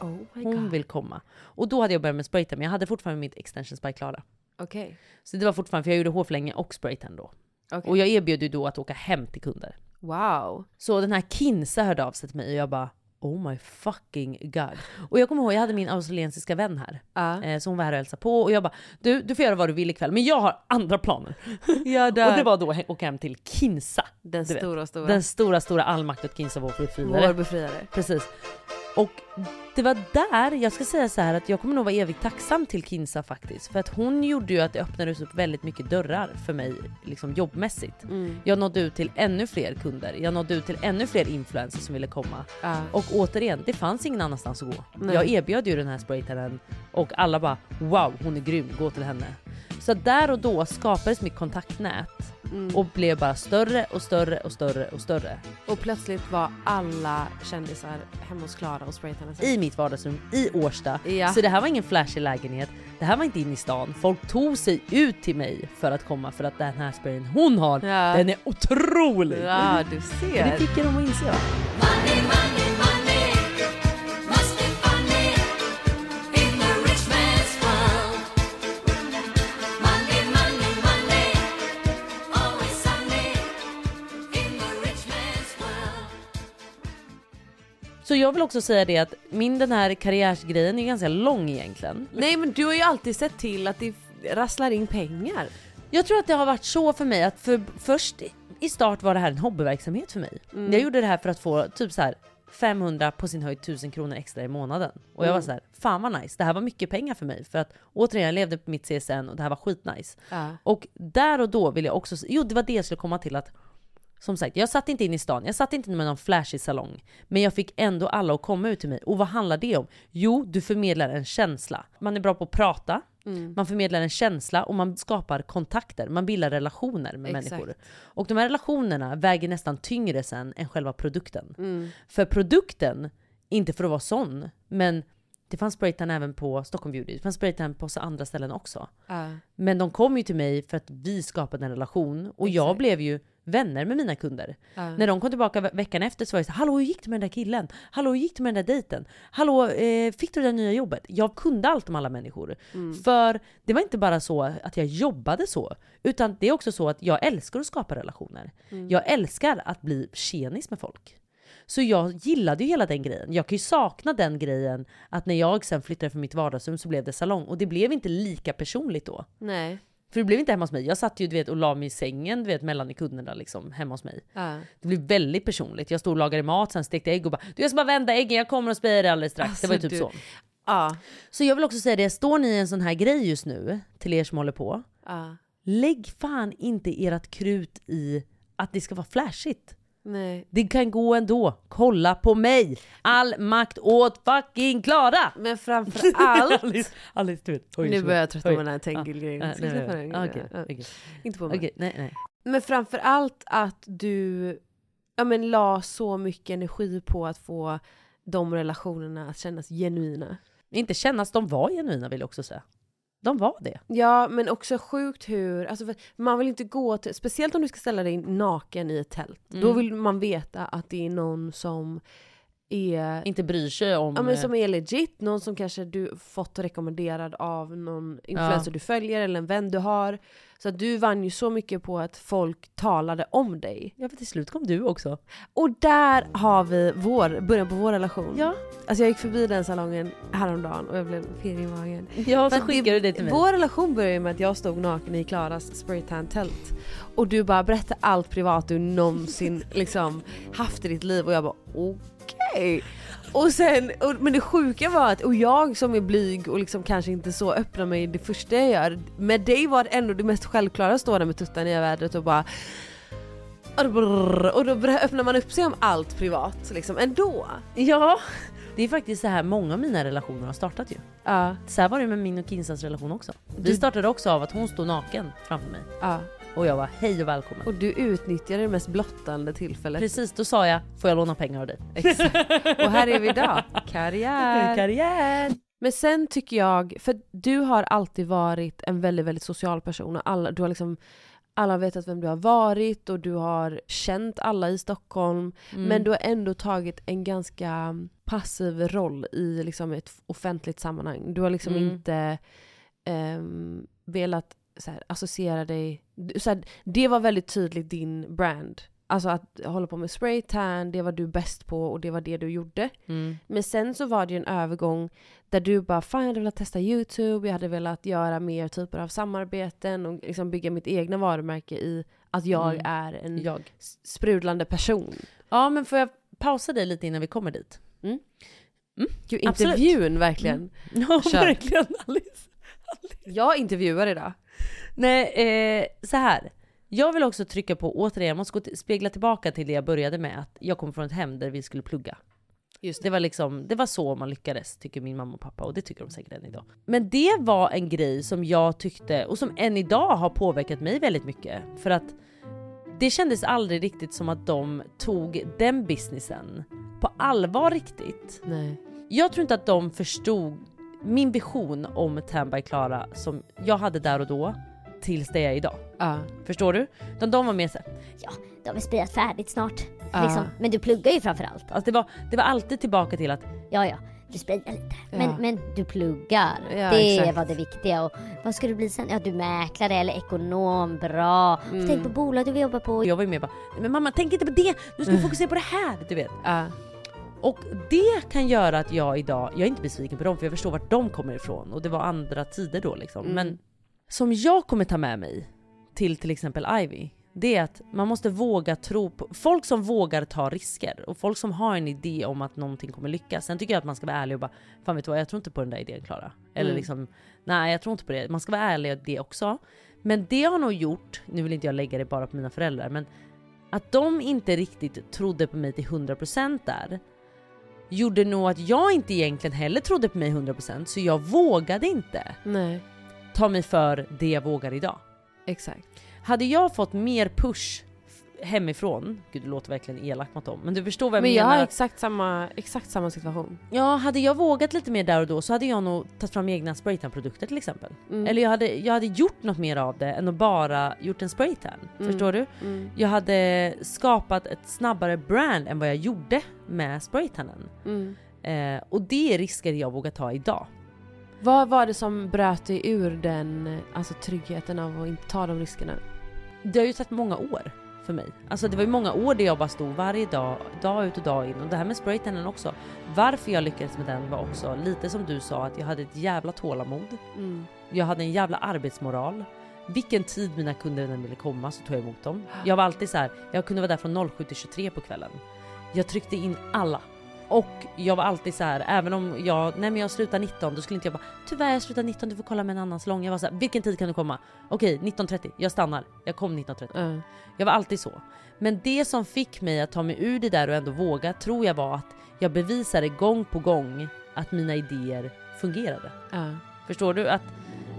Oh
Hon vill komma. Och då hade jag börjat med spraytan men jag hade fortfarande mitt extensions by Klara.
Okej.
Så det var fortfarande, för jag gjorde hår för länge och spraytan då.
Okej.
Och jag erbjöd ju då att åka hem till kunder.
Wow.
Så den här Kinsa hörde av sig till mig och jag bara Oh my fucking god. Och jag kommer ihåg, jag hade min australiensiska vän här. Uh. Så hon var här och hälsade på och jag bara du, du får göra vad du vill ikväll men jag har andra planer.
Jag dör.
Och det var då he- åka hem till Kinsa.
Den
du vet.
stora, stora.
Den stora stora allmakt åt Kinsa vår befriare.
Vår befriare.
Precis. Och det var där, jag ska säga så här att jag kommer nog vara evigt tacksam till Kinsa faktiskt. För att hon gjorde ju att det öppnades upp väldigt mycket dörrar för mig liksom jobbmässigt.
Mm.
Jag nådde ut till ännu fler kunder, jag nådde ut till ännu fler influencers som ville komma.
Ja.
Och återigen, det fanns ingen annanstans att gå.
Nej.
Jag erbjöd ju den här spraytaren och alla bara wow hon är grym, gå till henne. Så där och då skapades mitt kontaktnät
Mm.
och blev bara större och större och större och större.
Och plötsligt var alla kändisar hemma hos Klara och spraytannade sig.
i mitt vardagsrum i Årsta.
Ja.
Så det här var ingen flashig lägenhet. Det här var inte inne i stan. Folk tog sig ut till mig för att komma för att den här sprayen hon har,
Ja.
den är otrolig!
Ja, du ser.
Men Det fick jag dem att inse va? Så jag vill också säga det att min den här karriärsgrejen är ganska lång egentligen.
Nej men du har ju alltid sett till att det rasslar in pengar.
Jag tror att det har varit så för mig att för, först i- i start var det här en hobbyverksamhet för mig.
Mm.
Jag gjorde det här för att få typ så här 500 på sin höjd 1000 kronor extra i månaden. Och jag var
Mm.
så här, fan vad nice. Det här var mycket pengar för mig. För att återigen, jag levde på mitt CSN och det här var skitnice.
Ja.
Och där och då vill jag också, jo det var det jag skulle komma till att som sagt, jag satt inte in i stan, jag satt inte med någon flashig salong. Men jag fick ändå alla att komma ut till mig. Och vad handlar det om? Jo, du förmedlar en känsla. Man är bra på att prata,
Mm.
man förmedlar en känsla och man skapar kontakter. Man bildar relationer med
Exakt.
människor. Och de här relationerna väger nästan tyngre sen än själva produkten.
Mm.
För produkten, inte för att vara sån, men det fanns spraytan även på Stockholm Beauty, det fanns spraytan på så andra ställen också.
Ja.
Men de kom ju till mig för att vi skapade en relation och jag blev ju vänner med mina kunder.
Ja.
När de kom tillbaka ve- veckan efter så var jag så här, hallå hur gick det med den där killen? Hallå hur gick det med den där dejten? Hallå eh, fick du det där nya jobbet? Jag kunde allt om alla människor.
Mm.
För det var inte bara så att jag jobbade så, utan det är också så att jag älskar att skapa relationer.
Mm.
Jag älskar att bli tjenis med folk. Så jag gillade ju hela den grejen. Jag kan ju sakna den grejen att när jag sen flyttade från mitt vardagsrum så blev det salong och det blev inte lika personligt då.
Nej.
För det blev inte hemma hos mig. Jag satt ju du vet, och la mig i sängen du vet, mellan kunderna liksom, hemma hos mig.
Ja.
Det blev väldigt personligt. Jag stod och lagade mat, sen stekte ägg och bara du jag ska bara vända äggen, jag kommer och sprayar det alldeles strax.
Alltså,
det var ju typ
du-
så.
Ja.
Så jag vill också säga det, står ni i en sån här grej just nu, till er som håller på,
Ja.
lägg fan inte ert krut i att det ska vara flashigt.
Nej.
Det kan gå ändå. Kolla på mig! All makt åt fucking Klara!
Men framförallt...
Alice, Alice, du vet.
Nu börjar jag tröttna på
oj.
den här
Ja,
tänkelgrejen. Ska
nej,
jag släppa
nej,
den?
okej,
Ja.
okej.
Inte på mig.
Okej, nej, nej.
Men framförallt att du ja, men, la så mycket energi på att få de relationerna att kännas genuina.
Inte kännas, de var genuina vill jag också säga. De var det.
Ja, men också sjukt hur... Alltså för man vill inte gå till... Speciellt om du ska ställa dig naken i ett tält.
Mm.
Då vill man veta att det är någon som är...
Inte bryr sig om... eh,
Ja men som är legit, någon som kanske du fått rekommenderad av någon influencer
Ja.
du följer eller en vän du har. Så att du vann ju så mycket på att folk talade om dig.
Ja för till slut kom du också.
Och där har vi vår, början på vår relation.
Ja.
Alltså jag gick förbi den salongen häromdagen och jag blev pirrig i magen.
Ja,
För
så
att
skickade du det till mig.
Vår relation började ju med att jag stod naken i Klaras spraytan-tält. Och du bara berättade allt privat du någonsin liksom haft i ditt liv och jag bara okej. Och sen, och, men det sjuka var att, och jag som är blyg och liksom kanske inte så öppnar mig det första jag gör. Med dig var det ändå det mest självklara att stå där med tuttan i vädret och bara och då börjar- öppnar man upp sig om allt privat liksom ändå.
Ja. Det är faktiskt så här många av mina relationer har startat ju.
Ja.
Så här var det med min och Kinsas relation också. Vi
Du-
startade också av att hon stod naken framför mig.
Ja.
Och jag var hej och välkommen.
Och du utnyttjade det mest blottande tillfället.
Precis, då sa jag får jag låna pengar av dig?
Och här är vi idag. Karriär.
Karriär.
Men sen tycker jag, för du har alltid varit en väldigt, väldigt social person och alla, du har liksom alla har vetat vem du har varit och du har känt alla i Stockholm.
Mm.
Men du har ändå tagit en ganska passiv roll i liksom ett offentligt sammanhang. Du har liksom
Mm.
inte ehm, velat så här, associera dig. du- Så här, det var väldigt tydligt din brand. Alltså att hålla på med spraytan, det var du bäst på och det var det du gjorde.
Mm.
Men sen så var det ju en övergång där du bara fan jag hade velat testa YouTube, jag hade velat göra mer typer av samarbeten och liksom bygga mitt egna varumärke i att jag
Mm.
är en
Jag.
s- sprudlande person.
Ja men får jag pausa dig lite innan vi kommer dit?
Mm.
Mm,
Gud,
absolut.
intervjun verkligen.
Mm. Ja
Kör.
verkligen Alice.
Jag intervjuar idag.
Nej, eh, så här. Jag vill också trycka på återigen, jag måste gå till, spegla tillbaka till det jag började med, att jag kom från ett hem där vi skulle plugga. Just det. var liksom, det var så man lyckades, tycker min mamma och pappa, och det tycker de säkert än idag. Men det var en grej som jag tyckte, och som än idag har påverkat mig väldigt mycket. För att det kändes aldrig riktigt som att de tog den businessen på allvar riktigt.
Nej.
Jag tror inte att de förstod min vision om Tan by Klara som jag hade där och då tills det är idag. Förstår du? De, de var mer såhär,
Du har väl sprayat färdigt snart.
Ah.
Ja.
Liksom. Men du pluggar ju framförallt.
alltså det, var, det var alltid tillbaka till att
Ja, ja. Du sprayar lite. Men,
Ja.
men du pluggar.
Ja,
det
exakt.
var det viktiga. Och vad ska du bli sen? Ja, du är mäklare eller ekonom. Bra. Och Tänk på
Mm.
bolag du vill jobba på.
jag var ju mer bara, "Nej, men mamma tänk inte på det,
Mm.
nu ska vi fokusera på det här. Du vet. Och det kan göra att jag idag, jag är inte besviken på dem för jag förstår vart de kommer ifrån och det var andra tider då liksom.
Mm.
Men som jag kommer ta med mig till till exempel Ivy, det är att man måste våga tro på, folk som vågar ta risker och folk som har en idé om att någonting kommer lyckas. Sen tycker jag att man ska vara ärlig och bara, fan vet du vad jag tror inte på den där idén Klara. Eller
Mm.
liksom, nej jag tror inte på det. Man ska vara ärlig i det också. Men det har nog gjort, nu vill inte jag lägga det bara på mina föräldrar, men att de inte riktigt trodde på mig till 100% där gjorde nog att jag inte egentligen heller trodde på mig 100% så jag vågade inte
Nej,
ta mig för det jag vågar idag.
exakt.
Hade jag fått mer push f- hemifrån, gud det låter verkligen elakt mot dem, men du förstår vad jag
Men jag
menar.
har exakt samma, exakt samma situation.
Ja, hade jag vågat lite mer där och då så hade jag nog tagit fram egna spraytan-produkter till exempel.
Mm.
Eller jag hade, jag hade gjort något mer av det än att bara gjort en spraytan.
Mm.
Förstår du?
Mm.
Jag hade skapat ett snabbare brand än vad jag gjorde med spraytanen.
Mm.
Eh, och det är risker jag vågar ta idag.
Vad var det som bröt dig ur den alltså, tryggheten av att inte ta de riskerna?
Det har ju tagit många år för mig. Alltså det var ju många år där jag bara stod varje dag, dag ut och dag in. Och det här med spraytanen också. Varför jag lyckades med den var också lite som du sa att jag hade ett jävla tålamod.
Mm.
Jag hade en jävla arbetsmoral. Vilken tid mina kunder än ville komma så tog jag emot dem. Jag var alltid så här, jag kunde vara där från 07 till 23 på kvällen. Jag tryckte in alla. Och jag var alltid så här, även om jag, nej men jag slutar 19, då skulle inte jag bara tyvärr jag slutar 19, du får kolla med en annan salong. Jag var så här, vilken tid kan du komma? Okej 19.30, jag stannar. Jag kom 19.30.
Mm.
Jag var alltid så. Men det som fick mig att ta mig ur det där och ändå våga tror jag var att jag bevisade gång på gång att mina idéer fungerade.
Ja.
Förstår du? Att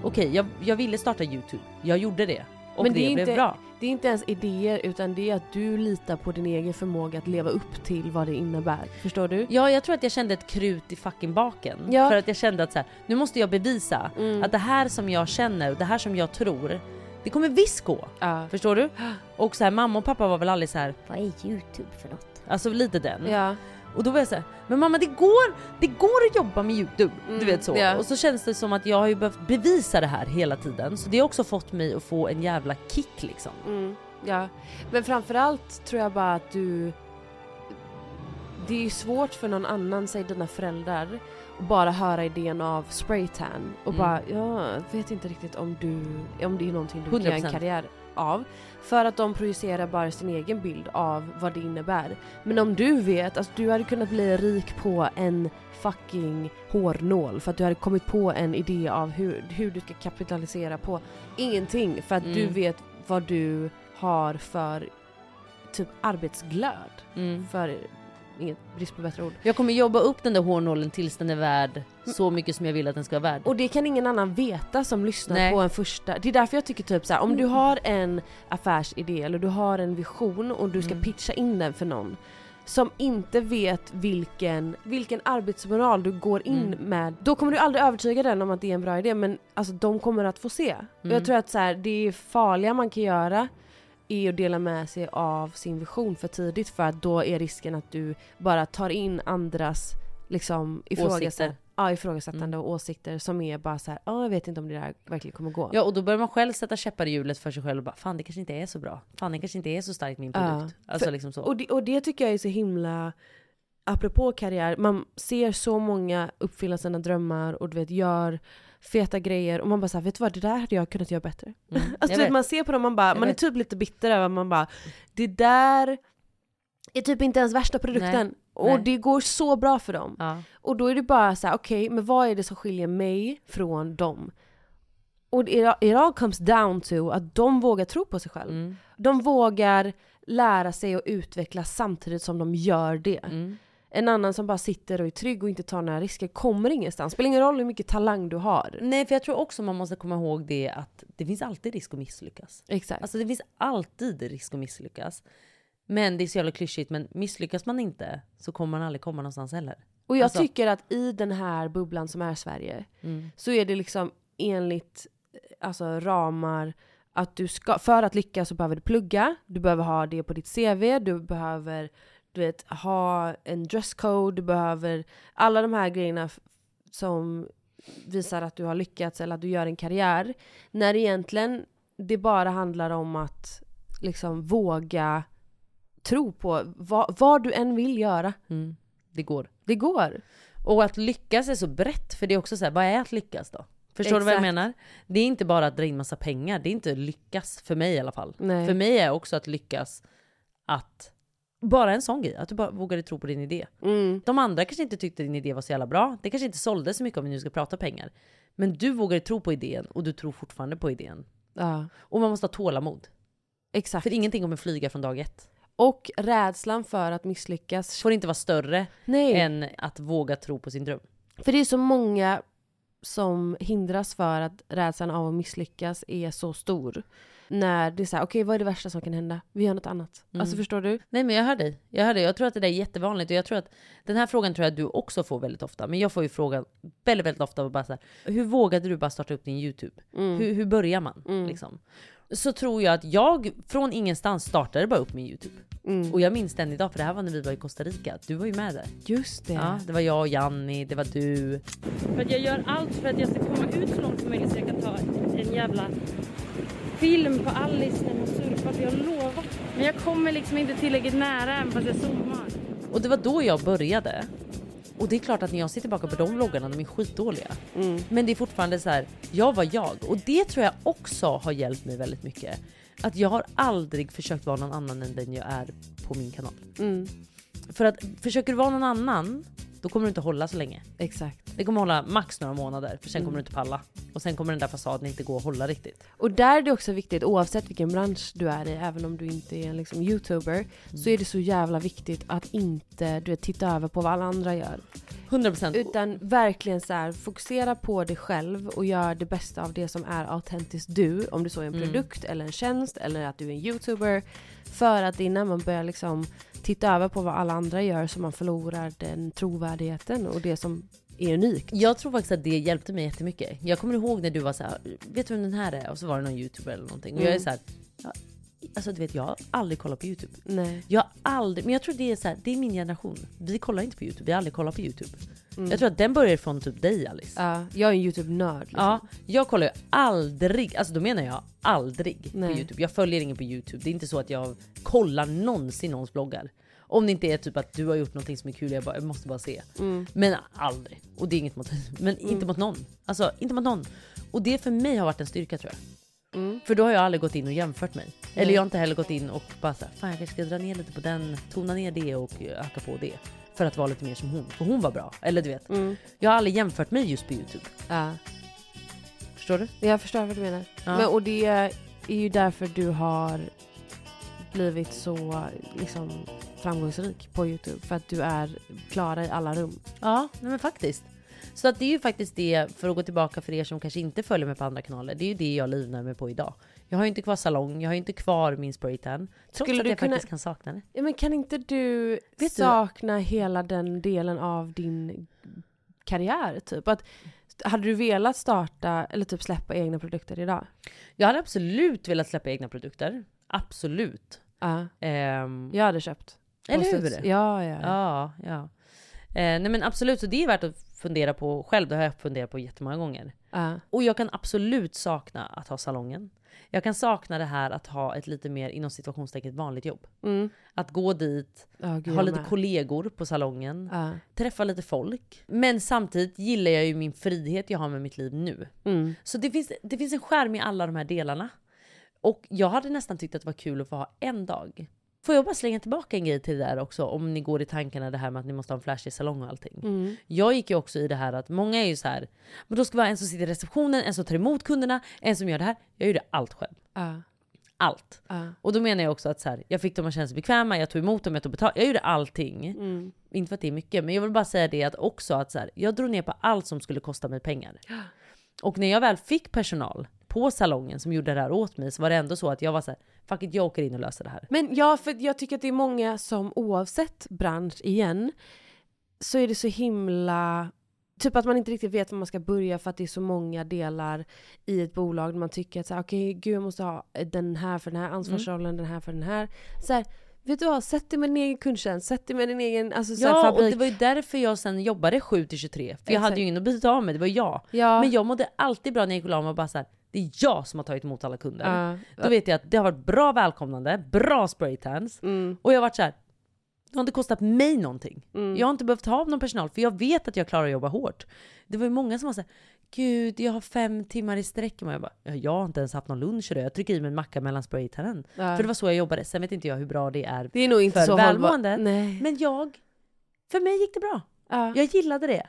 okej, jag, jag ville starta YouTube. Jag gjorde det. Och
Men
det,
det är
blev
inte-
bra.
Det är inte ens idéer utan det är att du litar på din egen förmåga att leva upp till vad det innebär. Förstår du?
Ja, jag tror att jag kände ett krut i fucking baken.
Ja.
För att jag kände att så här, nu måste jag bevisa
Mm.
att det här som jag känner och det här som jag tror, det kommer visst gå. Förstår du? Och så här, mamma och pappa var väl aldrig så här,
Vad är YouTube för något?
alltså lite den.
Ja.
Och då var jag så här, men mamma det går, det går att jobba med YouTube. du vet så.
ja.
Och så känns det som att jag har ju behövt bevisa det här hela tiden. Så det har också fått mig att få en jävla kick liksom.
Mm, ja. Men framförallt tror jag bara att du... Det är ju svårt för någon annan, säg dina föräldrar, att bara höra idén av spraytan och
Mm.
bara jag vet inte riktigt om du, om det är någonting du kan göra en
100%.
karriär av. För att de projicerar bara sin egen bild av vad det innebär. Men om du vet, alltså du hade kunnat bli rik på en fucking hårnål för att du hade kommit på en idé av hur, hur du ska kapitalisera på ingenting för att du
Mm.
vet vad du har för typ arbetsglöd.
Mm.
För inget brist på bättre ord.
Jag kommer jobba upp den där hårnålen tills den är värd så mycket som jag vill att den ska vara värd.
Och det kan ingen annan veta som lyssnar
Nej. Mm.
på en första. Det är därför jag tycker typ så här, om du har en affärsidé eller du har en vision och du ska
Mm.
pitcha in den för någon som inte vet vilken, vilken arbetsmoral du går in
Mm.
med. Då kommer du aldrig övertyga den om att det är en bra idé men alltså de kommer att få se. Och
Mm.
jag tror att så här, det farliga man kan göra är att dela med sig av sin vision för tidigt för att då är risken att du bara tar in andras liksom ifrågasätt,
Åsikter.
ja, ifrågasättande och åsikter som är bara så här, ja jag vet inte om det där verkligen kommer gå.
Ja och då börjar man själv sätta käppar i hjulet för sig själv och bara fan det kanske inte är så bra. Fan det kanske inte är så starkt min produkt.
Ja.
Alltså
För-
liksom så.
Och det, och det tycker jag är så himla, apropå karriär, man ser så många uppfylla sina drömmar och du vet gör feta grejer och man bara såhär, vet du vad det där hade jag kunnat göra bättre.
Mm. jag
alltså du vet,
vet.
man ser på dem man bara,
Jag
man är
vet.
typ lite bitter över att man bara, det där är typ inte ens värsta produkten.
Nej.
Och
Nej.
det går så bra för dem.
Ja.
Och då är det bara så här: okej, men vad är det som skiljer mig från dem? Och it, it all comes down to att de vågar tro på sig själv. De vågar lära sig och utvecklas samtidigt som de gör det. En annan som bara sitter och är trygg och inte tar några risker kommer ingenstans. Spelar ingen roll hur mycket talang du har.
Nej för jag tror också man måste komma ihåg det att det finns alltid risk att misslyckas.
Exakt.
Alltså det finns alltid risk att misslyckas. Men det är så jävla klyschigt men misslyckas man inte så kommer man aldrig komma någonstans heller.
Och jag
Alltså-
tycker att i den här bubblan som är Sverige
Mm.
så är det liksom enligt eh, alltså, ramar att du ska, för att lyckas så behöver du plugga, du behöver ha det på ditt CV, du behöver du vet, ha en dresscode, du behöver alla de här grejerna f- som visar att du har lyckats eller att du gör en karriär. När egentligen det bara handlar om att liksom våga tro på vad, vad du än vill göra.
Det går.
Det går.
Och att lyckas är så brett, för det är också så här, vad är att lyckas då? Förstår du vad jag
Exakt.
menar? Det är inte bara att dra in massa pengar, det är inte lyckas för mig i alla fall.
Nej.
För mig är också att lyckas att, bara en sån grej, att du bara vågade tro på din idé. De andra kanske inte tyckte din idé var så jävla bra, det kanske inte sålde så mycket om vi nu ska prata pengar. Men du vågade tro på idén och du tror fortfarande på idén.
Ja.
Och man måste ha tålamod.
Exakt.
För ingenting kommer flyga från dag ett.
Och rädslan för att misslyckas.
Får inte vara större
Nej.
än att våga tro på sin dröm.
För det är så många som hindras för att rädslan av att misslyckas är så stor. När det är såhär, okej vad är det värsta som kan hända? Vi gör något annat.
Mm.
Alltså förstår du?
Nej men jag hör dig. Jag hör dig. Jag tror att det där är jättevanligt och jag tror att den här frågan tror jag att du också får väldigt ofta. Men jag får ju frågan väldigt, väldigt ofta och bara så här, hur vågade du bara starta upp din YouTube?
Mm.
Hur, hur börjar man? Liksom. Så tror jag att jag från ingenstans startade bara upp min YouTube. Och jag minns den idag för det här var när vi var i Costa Rica. Du var ju med där.
Just det.
Ja, det var jag och Janni, det var du.
För att jag gör allt för att jag ska komma ut så långt som möjligt så jag kan ta en jävla film på Alice när hon surfar. För jag lovar. Men jag kommer liksom inte tillräckligt nära än fast jag zoomar.
Och det var då jag började. Och det är klart att när jag ser tillbaka på de vloggarna, de är skitdåliga. Men det är fortfarande så här, jag var jag. Och det tror jag också har hjälpt mig väldigt mycket. Att jag har aldrig försökt vara någon annan än den jag är på min kanal. För att försöker du vara någon annan, då kommer du inte hålla så länge.
Exakt.
Det kommer hålla max några månader, för sen
Mm.
kommer du inte palla. Och sen kommer den där fasaden inte gå att hålla riktigt.
Och där är det också viktigt, oavsett vilken bransch du är i, även om du inte är en liksom, youtuber, så är det så jävla viktigt att inte du vet, titta över på vad alla andra gör.
100%.
Utan verkligen så här, fokusera på dig själv och gör det bästa av det som är autentiskt du. Om du så är en
Mm.
produkt eller en tjänst eller att du är en youtuber. För att innan man börjar liksom titta över på vad alla andra gör så man förlorar den trovärdigheten och det som är unikt.
Jag tror faktiskt att det hjälpte mig jättemycket. Jag kommer ihåg när du var så här, vet du vem den här är? Och så var det någon youtuber eller någonting. Och jag är
Mm.
så här, ja, alltså du vet jag har aldrig kollat på youtube.
Nej.
Jag har aldrig, men jag tror det är så här, det är min generation. Vi kollar inte på youtube, vi har aldrig kollat på youtube.
Mm.
Jag tror att den börjar från typ dig Alice.
Ja, jag är en youtube-nörd. Liksom.
Ja, jag kollar ju aldrig, alltså då menar jag aldrig
Nej.
på Youtube. Jag följer ingen på Youtube. Det är inte så att jag kollar någonsin någons bloggar. Om det inte är typ att du har gjort någonting som är kul, jag, bara, jag måste bara se.
Mm.
Men aldrig. Och det är inget mot Men inte mot någon. Alltså inte mot någon. Och det för mig har varit en styrka tror jag.
Mm.
För då har jag aldrig gått in och jämfört mig. Eller jag har inte heller gått in och bara såhär, fan jag kanske ska dra ner lite på den, tona ner det och eh, öka på det. För att vara lite mer som hon, för hon var bra. Eller du vet. Jag har aldrig jämfört mig just på Youtube.
Ja.
Förstår du?
Jag förstår vad du menar.
Ja.
Men, och det är ju därför du har blivit så liksom, framgångsrik på Youtube. För att du är klara i alla rum.
Ja, nej men faktiskt. Så att det är ju faktiskt det, för att gå tillbaka för er som kanske inte följer mig på andra kanaler, det är ju det jag livnär mig på idag. Jag har ju inte kvar salong, jag har ju inte kvar min spraytan. Trots
Skulle
att
du
jag
kunna-
faktiskt kan sakna det.
Ja, men kan inte du
Vet du-
sakna hela den delen av din karriär? Typ? Att, hade du velat starta eller typ släppa egna produkter idag?
Jag hade absolut velat släppa egna produkter. Absolut.
Ja.
Ehm,
Jag hade köpt.
Eller
Post-its.
hur?
Ja, ja.
ja, ja. Eh, nej men absolut, så det är värt att fundera på själv. Det har jag funderat på jättemånga gånger.
Ja.
Och jag kan absolut sakna att ha salongen. Jag kan sakna det här att ha ett lite mer inom situationstecken vanligt jobb.
Mm.
Att gå dit,
Ja, gud,
ha
jag
lite
med.
kollegor på salongen,
Ja.
träffa lite folk. Men samtidigt gillar jag ju min frihet jag har med mitt liv nu.
Mm.
Så det finns, det finns en skärm i alla de här delarna. Och jag hade nästan tyckt att det var kul att få ha en dag. Får jag bara slänga tillbaka en grej till det där också, om ni går i tankarna det här med att ni måste ha en flashig salong och allting.
Mm.
Jag gick ju också i det här att många är ju så här, men då ska det vara en som sitter i receptionen, en som tar emot kunderna, en som gör det här. Jag gjorde allt själv.
Ja.
Allt.
Ja.
Och då menar jag också att så här, jag fick dem att känna sig bekväma, jag tog emot dem, jag tog betalt. Jag gjorde allting.
Mm.
Inte för att det är mycket, men jag vill bara säga det att också att så här, jag drog ner på allt som skulle kosta mig pengar. Och när jag väl fick personal på salongen som gjorde det här åt mig så var det ändå så att jag var så här, fuck it, jag åker in och löser det här.
Men ja, för jag tycker att det är många som oavsett bransch igen så är det så himla Typ att man inte riktigt vet var man ska börja för att det är så många delar i ett bolag där man tycker att så här, okej gud jag måste ha den här för den här ansvarsrollen, den här för den här. Så här, vet du vad, sätt dig med din egen kundtjänst, sätt dig med din egen alltså, så här,
Ja, och
fabrik.
det var ju därför jag sen jobbade 7 till 23. För jag hade
Exakt.
ju ingen att byta av med, det var jag.
Ja.
Men jag mådde alltid bra när jag gick och la mig och bara så här, det är jag som har tagit emot alla kunder.
Ja.
Då vet jag att det har varit bra välkomnande, bra spraytans. Och jag har varit så här, det har inte kostat mig någonting.
Mm.
Jag har inte behövt ha någon personal för jag vet att jag klarar att jobba hårt. Det var ju många som var såhär, gud jag har fem timmar i sträck. Och jag bara, "Ja, jag har inte ens haft någon lunch idag. Jag trycker i mig en macka mellan spraytannen.
Ja.
För det var så jag jobbade. Sen vet inte jag hur bra det är,
Det är nog inte
för
så hållbart.
välmåendet.
Nej.
Men jag, för mig gick det bra. Jag gillade det.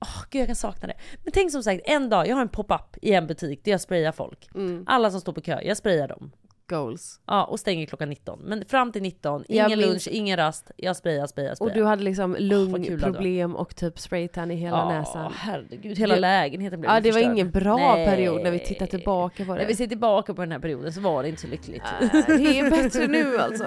Åh, gud jag kan sakna det. Men tänk som sagt en dag, jag har en pop-up i en butik där jag sprayar folk.
Mm.
Alla som står på kö, jag sprayar dem.
Goals.
Ja, och stänger klockan 19. Men fram till 19,
Jag
ingen
minns-
lunch, ingen rast. Jag sprayar, sprayar,
Och
sprayar.
du hade liksom
vad kul det
lungproblem och typ spraytan i hela
Ja,
näsan.
herregud, Liksom. hela
Du-
lägenheten blev
Ja det var
förstörd.
ingen bra
Nej.
period när vi tittar tillbaka på det.
När vi ser tillbaka på den här perioden så var det inte så lyckligt.
det är bättre nu alltså.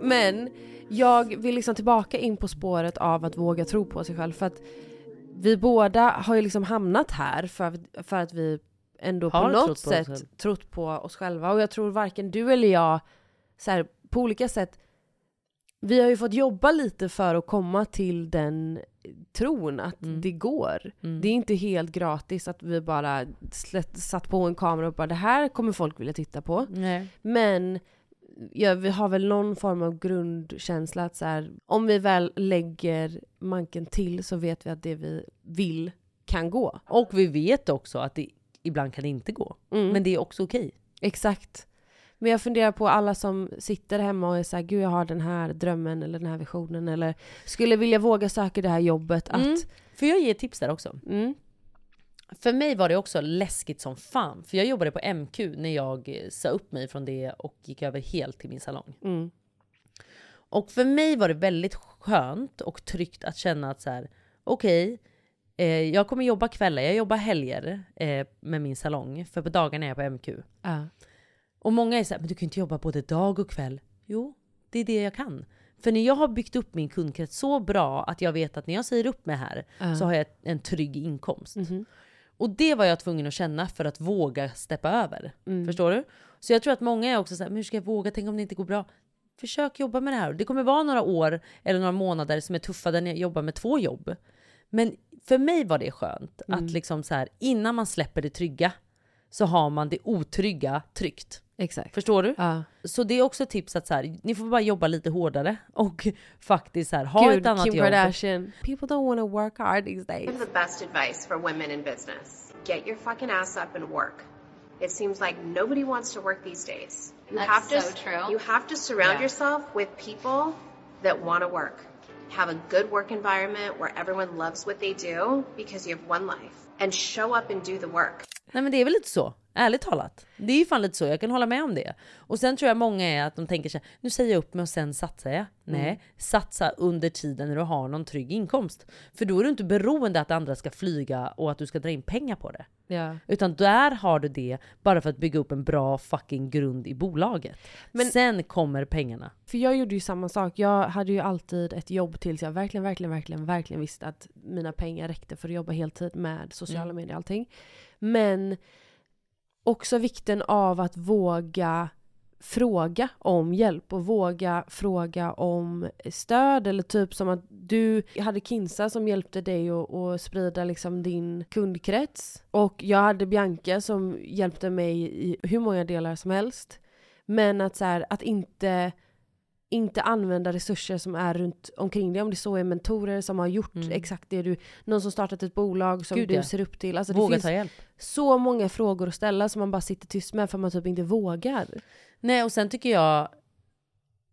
Men jag vill liksom tillbaka in på spåret av att våga tro på sig själv för att vi båda har ju liksom hamnat här för, för att vi ändå på
Har trott
något
på oss
sätt
själva.
trott på oss själva. Och jag tror varken du eller jag, så här, på olika sätt, vi har ju fått jobba lite för att komma till den tron att
Mm.
det går. Det är inte helt gratis att vi bara slätt, satt på en kamera och bara det här kommer folk vilja titta på.
Nej.
Men ja, vi har väl någon form av grundkänsla att så här, om vi väl lägger manken till så vet vi att det vi vill kan gå.
Och vi vet också att det ibland kan det inte gå.
Mm.
Men det är också okej.
Exakt. Men jag funderar på alla som sitter hemma och är såhär, gud jag har den här drömmen eller den här visionen eller skulle vilja våga söka det här jobbet att...
Mm. Får jag ge tips där också? För mig var det också läskigt som fan. För jag jobbade på MQ när jag eh, sa upp mig från det och gick över helt till min salong.
Mm.
Och för mig var det väldigt skönt och tryggt att känna att så här, okej, eh, jag kommer jobba kvällar, jag jobbar helger eh, med min salong. För på dagarna är jag på MQ.
Ja.
Och många är så här, men du kan ju inte jobba både dag och kväll. Jo, det är det jag kan. För när jag har byggt upp min kundkrets så bra att jag vet att när jag säger upp mig här
Ja. Mhm.
så har jag en trygg inkomst. Och det var jag tvungen att känna för att våga steppa över.
Mm.
Förstår du? Så jag tror att många är också så här, men hur ska jag våga? Tänk om det inte går bra? Försök jobba med det här. Det kommer vara några år eller några månader som är tuffa där jag jobbar med två jobb. Men för mig var det skönt
Mm.
att liksom så här, innan man släpper det trygga så har man det otrygga tryggt.
Exakt.
Förstår du?
Ja.
Så det är också ett tips att så här, ni får bara jobba lite hårdare och faktiskt så här, ha
Gud,
ett annat
Kim
jobb.
Kardashian. People don't wanna work hard these days.
the best advice for women in business. Get your fucking ass up and work. It seems like nobody wants to work these days. You
That's
have to
so true.
you have to surround
Yeah.
yourself with people that want to work. Have a good work environment where everyone loves what they do because you have one life and show up and do the work.
Nej men det är väl lite så, ärligt talat. Det är ju fan lite så, jag kan hålla med om det. Och sen tror jag många är att de tänker sig, nu säger jag upp mig och sen satsar jag.
Mm.
Nej, satsa under tiden när du har någon trygg inkomst. För då är du inte beroende att andra ska flyga och att du ska dra in pengar på det.
Ja.
Utan där har du det bara för att bygga upp en bra fucking grund i bolaget.
Men-
sen kommer pengarna.
För jag gjorde ju samma sak. Jag hade ju alltid ett jobb tills jag verkligen, verkligen, verkligen, verkligen visste att mina pengar räckte för att jobba heltid med sociala
Mm.
medier och allting. Men också vikten av att våga fråga om hjälp och våga fråga om stöd eller typ som att du hade Kinsa som hjälpte dig att, att sprida liksom din kundkrets och jag hade Bianca som hjälpte mig i hur många delar som helst. Men att så här, att inte inte använda resurser som är runt omkring dig. Om det så är mentorer som har gjort exakt det du... Någon som startat ett bolag som
Mm. Gud,
du
ja.
ser upp till. Alltså
Våga
det finns
ta hjälp.
så många frågor att ställa som man bara sitter tyst med för man typ inte vågar.
Nej och sen tycker jag,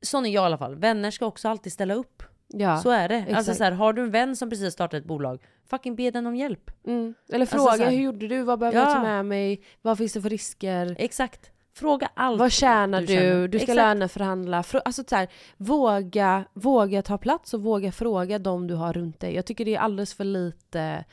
sån är jag i alla fall, vänner ska också alltid ställa upp.
Ja,
så är det. Alltså
exakt.
så här, har du en vän som precis startat ett bolag, fucking be den om hjälp.
Mm. Eller
Alltså,
fråga
så här-
hur gjorde du? Vad behöver jag
Ja.
ta med mig? Vad finns det för risker?
Exakt. Fråga allt
Vad tjänar
du
du?
känner.
Du, ska
Exakt.
löneförhandla. Frå- Alltså så här, våga, våga ta plats och våga fråga de du har runt dig. Jag tycker det är alldeles för lite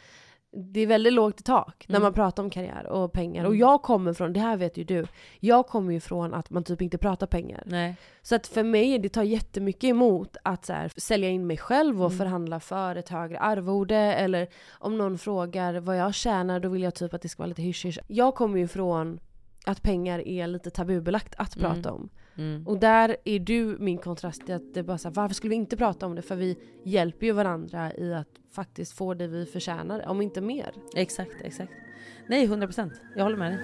det är väldigt lågt i tak när
Mm.
man pratar om karriär och pengar. Och
Mm.
jag kommer från, det här vet ju du, jag kommer ju från att man typ inte pratar pengar.
Nej.
Så att för mig, det tar jättemycket emot att så här, sälja in mig själv och
Mm.
förhandla för ett högre arvode eller om någon frågar vad jag tjänar då vill jag typ att det ska vara lite hysch Jag kommer ju från att pengar är lite tabubelagt att
Mm.
prata om.
Mm.
Och där är du min kontrast till att det är bara så här, varför skulle vi inte prata om det? För vi hjälper ju varandra i att faktiskt få det vi förtjänar, om inte mer.
Exakt, exakt. Nej, 100%. Jag håller med dig.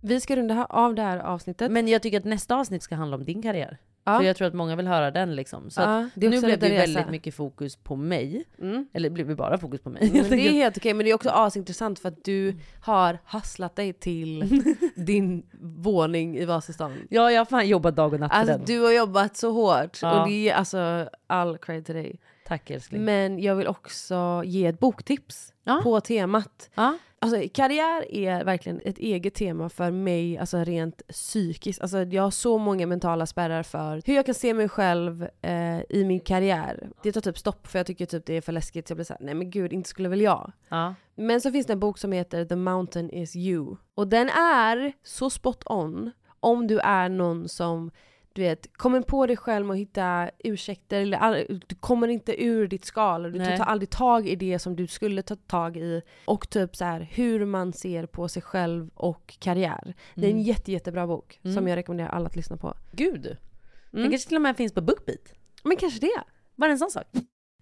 Vi ska runda här- av det här avsnittet.
Men jag tycker att nästa avsnitt ska handla om din karriär.
Ja.
För jag tror att många vill höra den liksom. Så
Ja,
att
det är
nu
också
blev det
lite
ju
resa.
väldigt mycket fokus på mig.
Mm.
Eller det blev ju bara fokus på mig.
Men
helt
det är
enkelt.
helt okej, men det är också asintressant för att
Mm.
du har hasslat dig till din våning i Vasastan.
Ja, jag har fan jobbat dag och natt för
Alltså
den.
du har jobbat så hårt
Ja.
och det är alltså all cred till dig.
Tack älskling.
Men jag vill också ge ett boktips på temat. Alltså, karriär är verkligen ett eget tema för mig, alltså rent psykiskt. Alltså, jag har så många mentala spärrar för hur jag kan se mig själv eh, i min karriär. Det tar typ stopp för jag tycker typ det är för läskigt. Så jag blir såhär, nej men gud, inte skulle väl jag.
Ja.
Men så finns det en bok som heter The Mountain Is You. Och den är så spot on om du är någon som du vet, kommer på dig själv och hitta ursäkter eller all- du kommer inte ur ditt skal och du
Nej.
tar aldrig tag i det som du skulle ta tag i. Och typ så här hur man ser på sig själv och karriär. Det är en
Mm.
jätte, jättebra bok som
Mm.
jag rekommenderar alla att lyssna på.
Gud! Den
Mm.
kanske till och med finns på BookBeat.
Men kanske det.
Bara en sån sak.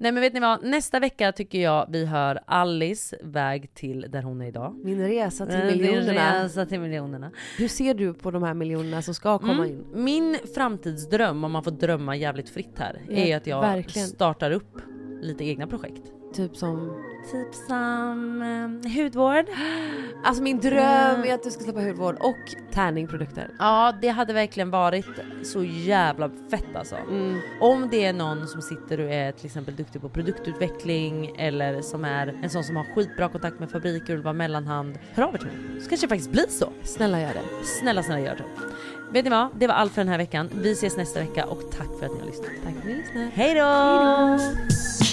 Nej men vet ni vad, nästa vecka tycker jag vi hör Alice väg till där hon är idag.
Min resa till
Eh, din
miljonerna.
resa till miljonerna.
Hur ser du på de här miljonerna som ska komma in?
Mm. Min framtidsdröm, om man får drömma jävligt fritt här,
Ja,
är att jag
verkligen.
startar upp lite egna projekt.
Typ som...
Typ som eh, hudvård.
Alltså min
Mm.
dröm är att du ska släppa hudvård och tärningprodukter.
Ja, det hade verkligen varit så jävla fett alltså. Om det är någon som sitter och är till exempel duktig på produktutveckling eller som är en sån som har skitbra kontakt med fabriker och vill vara mellanhand, hör av er till mig. Så kanske det faktiskt blir så.
Snälla gör det.
Snälla, snälla gör det. Vet ni vad? Det var allt för den här veckan. Vi ses nästa vecka och tack för att ni har lyssnat.
Tack för att ni lyssnade.
Hej då!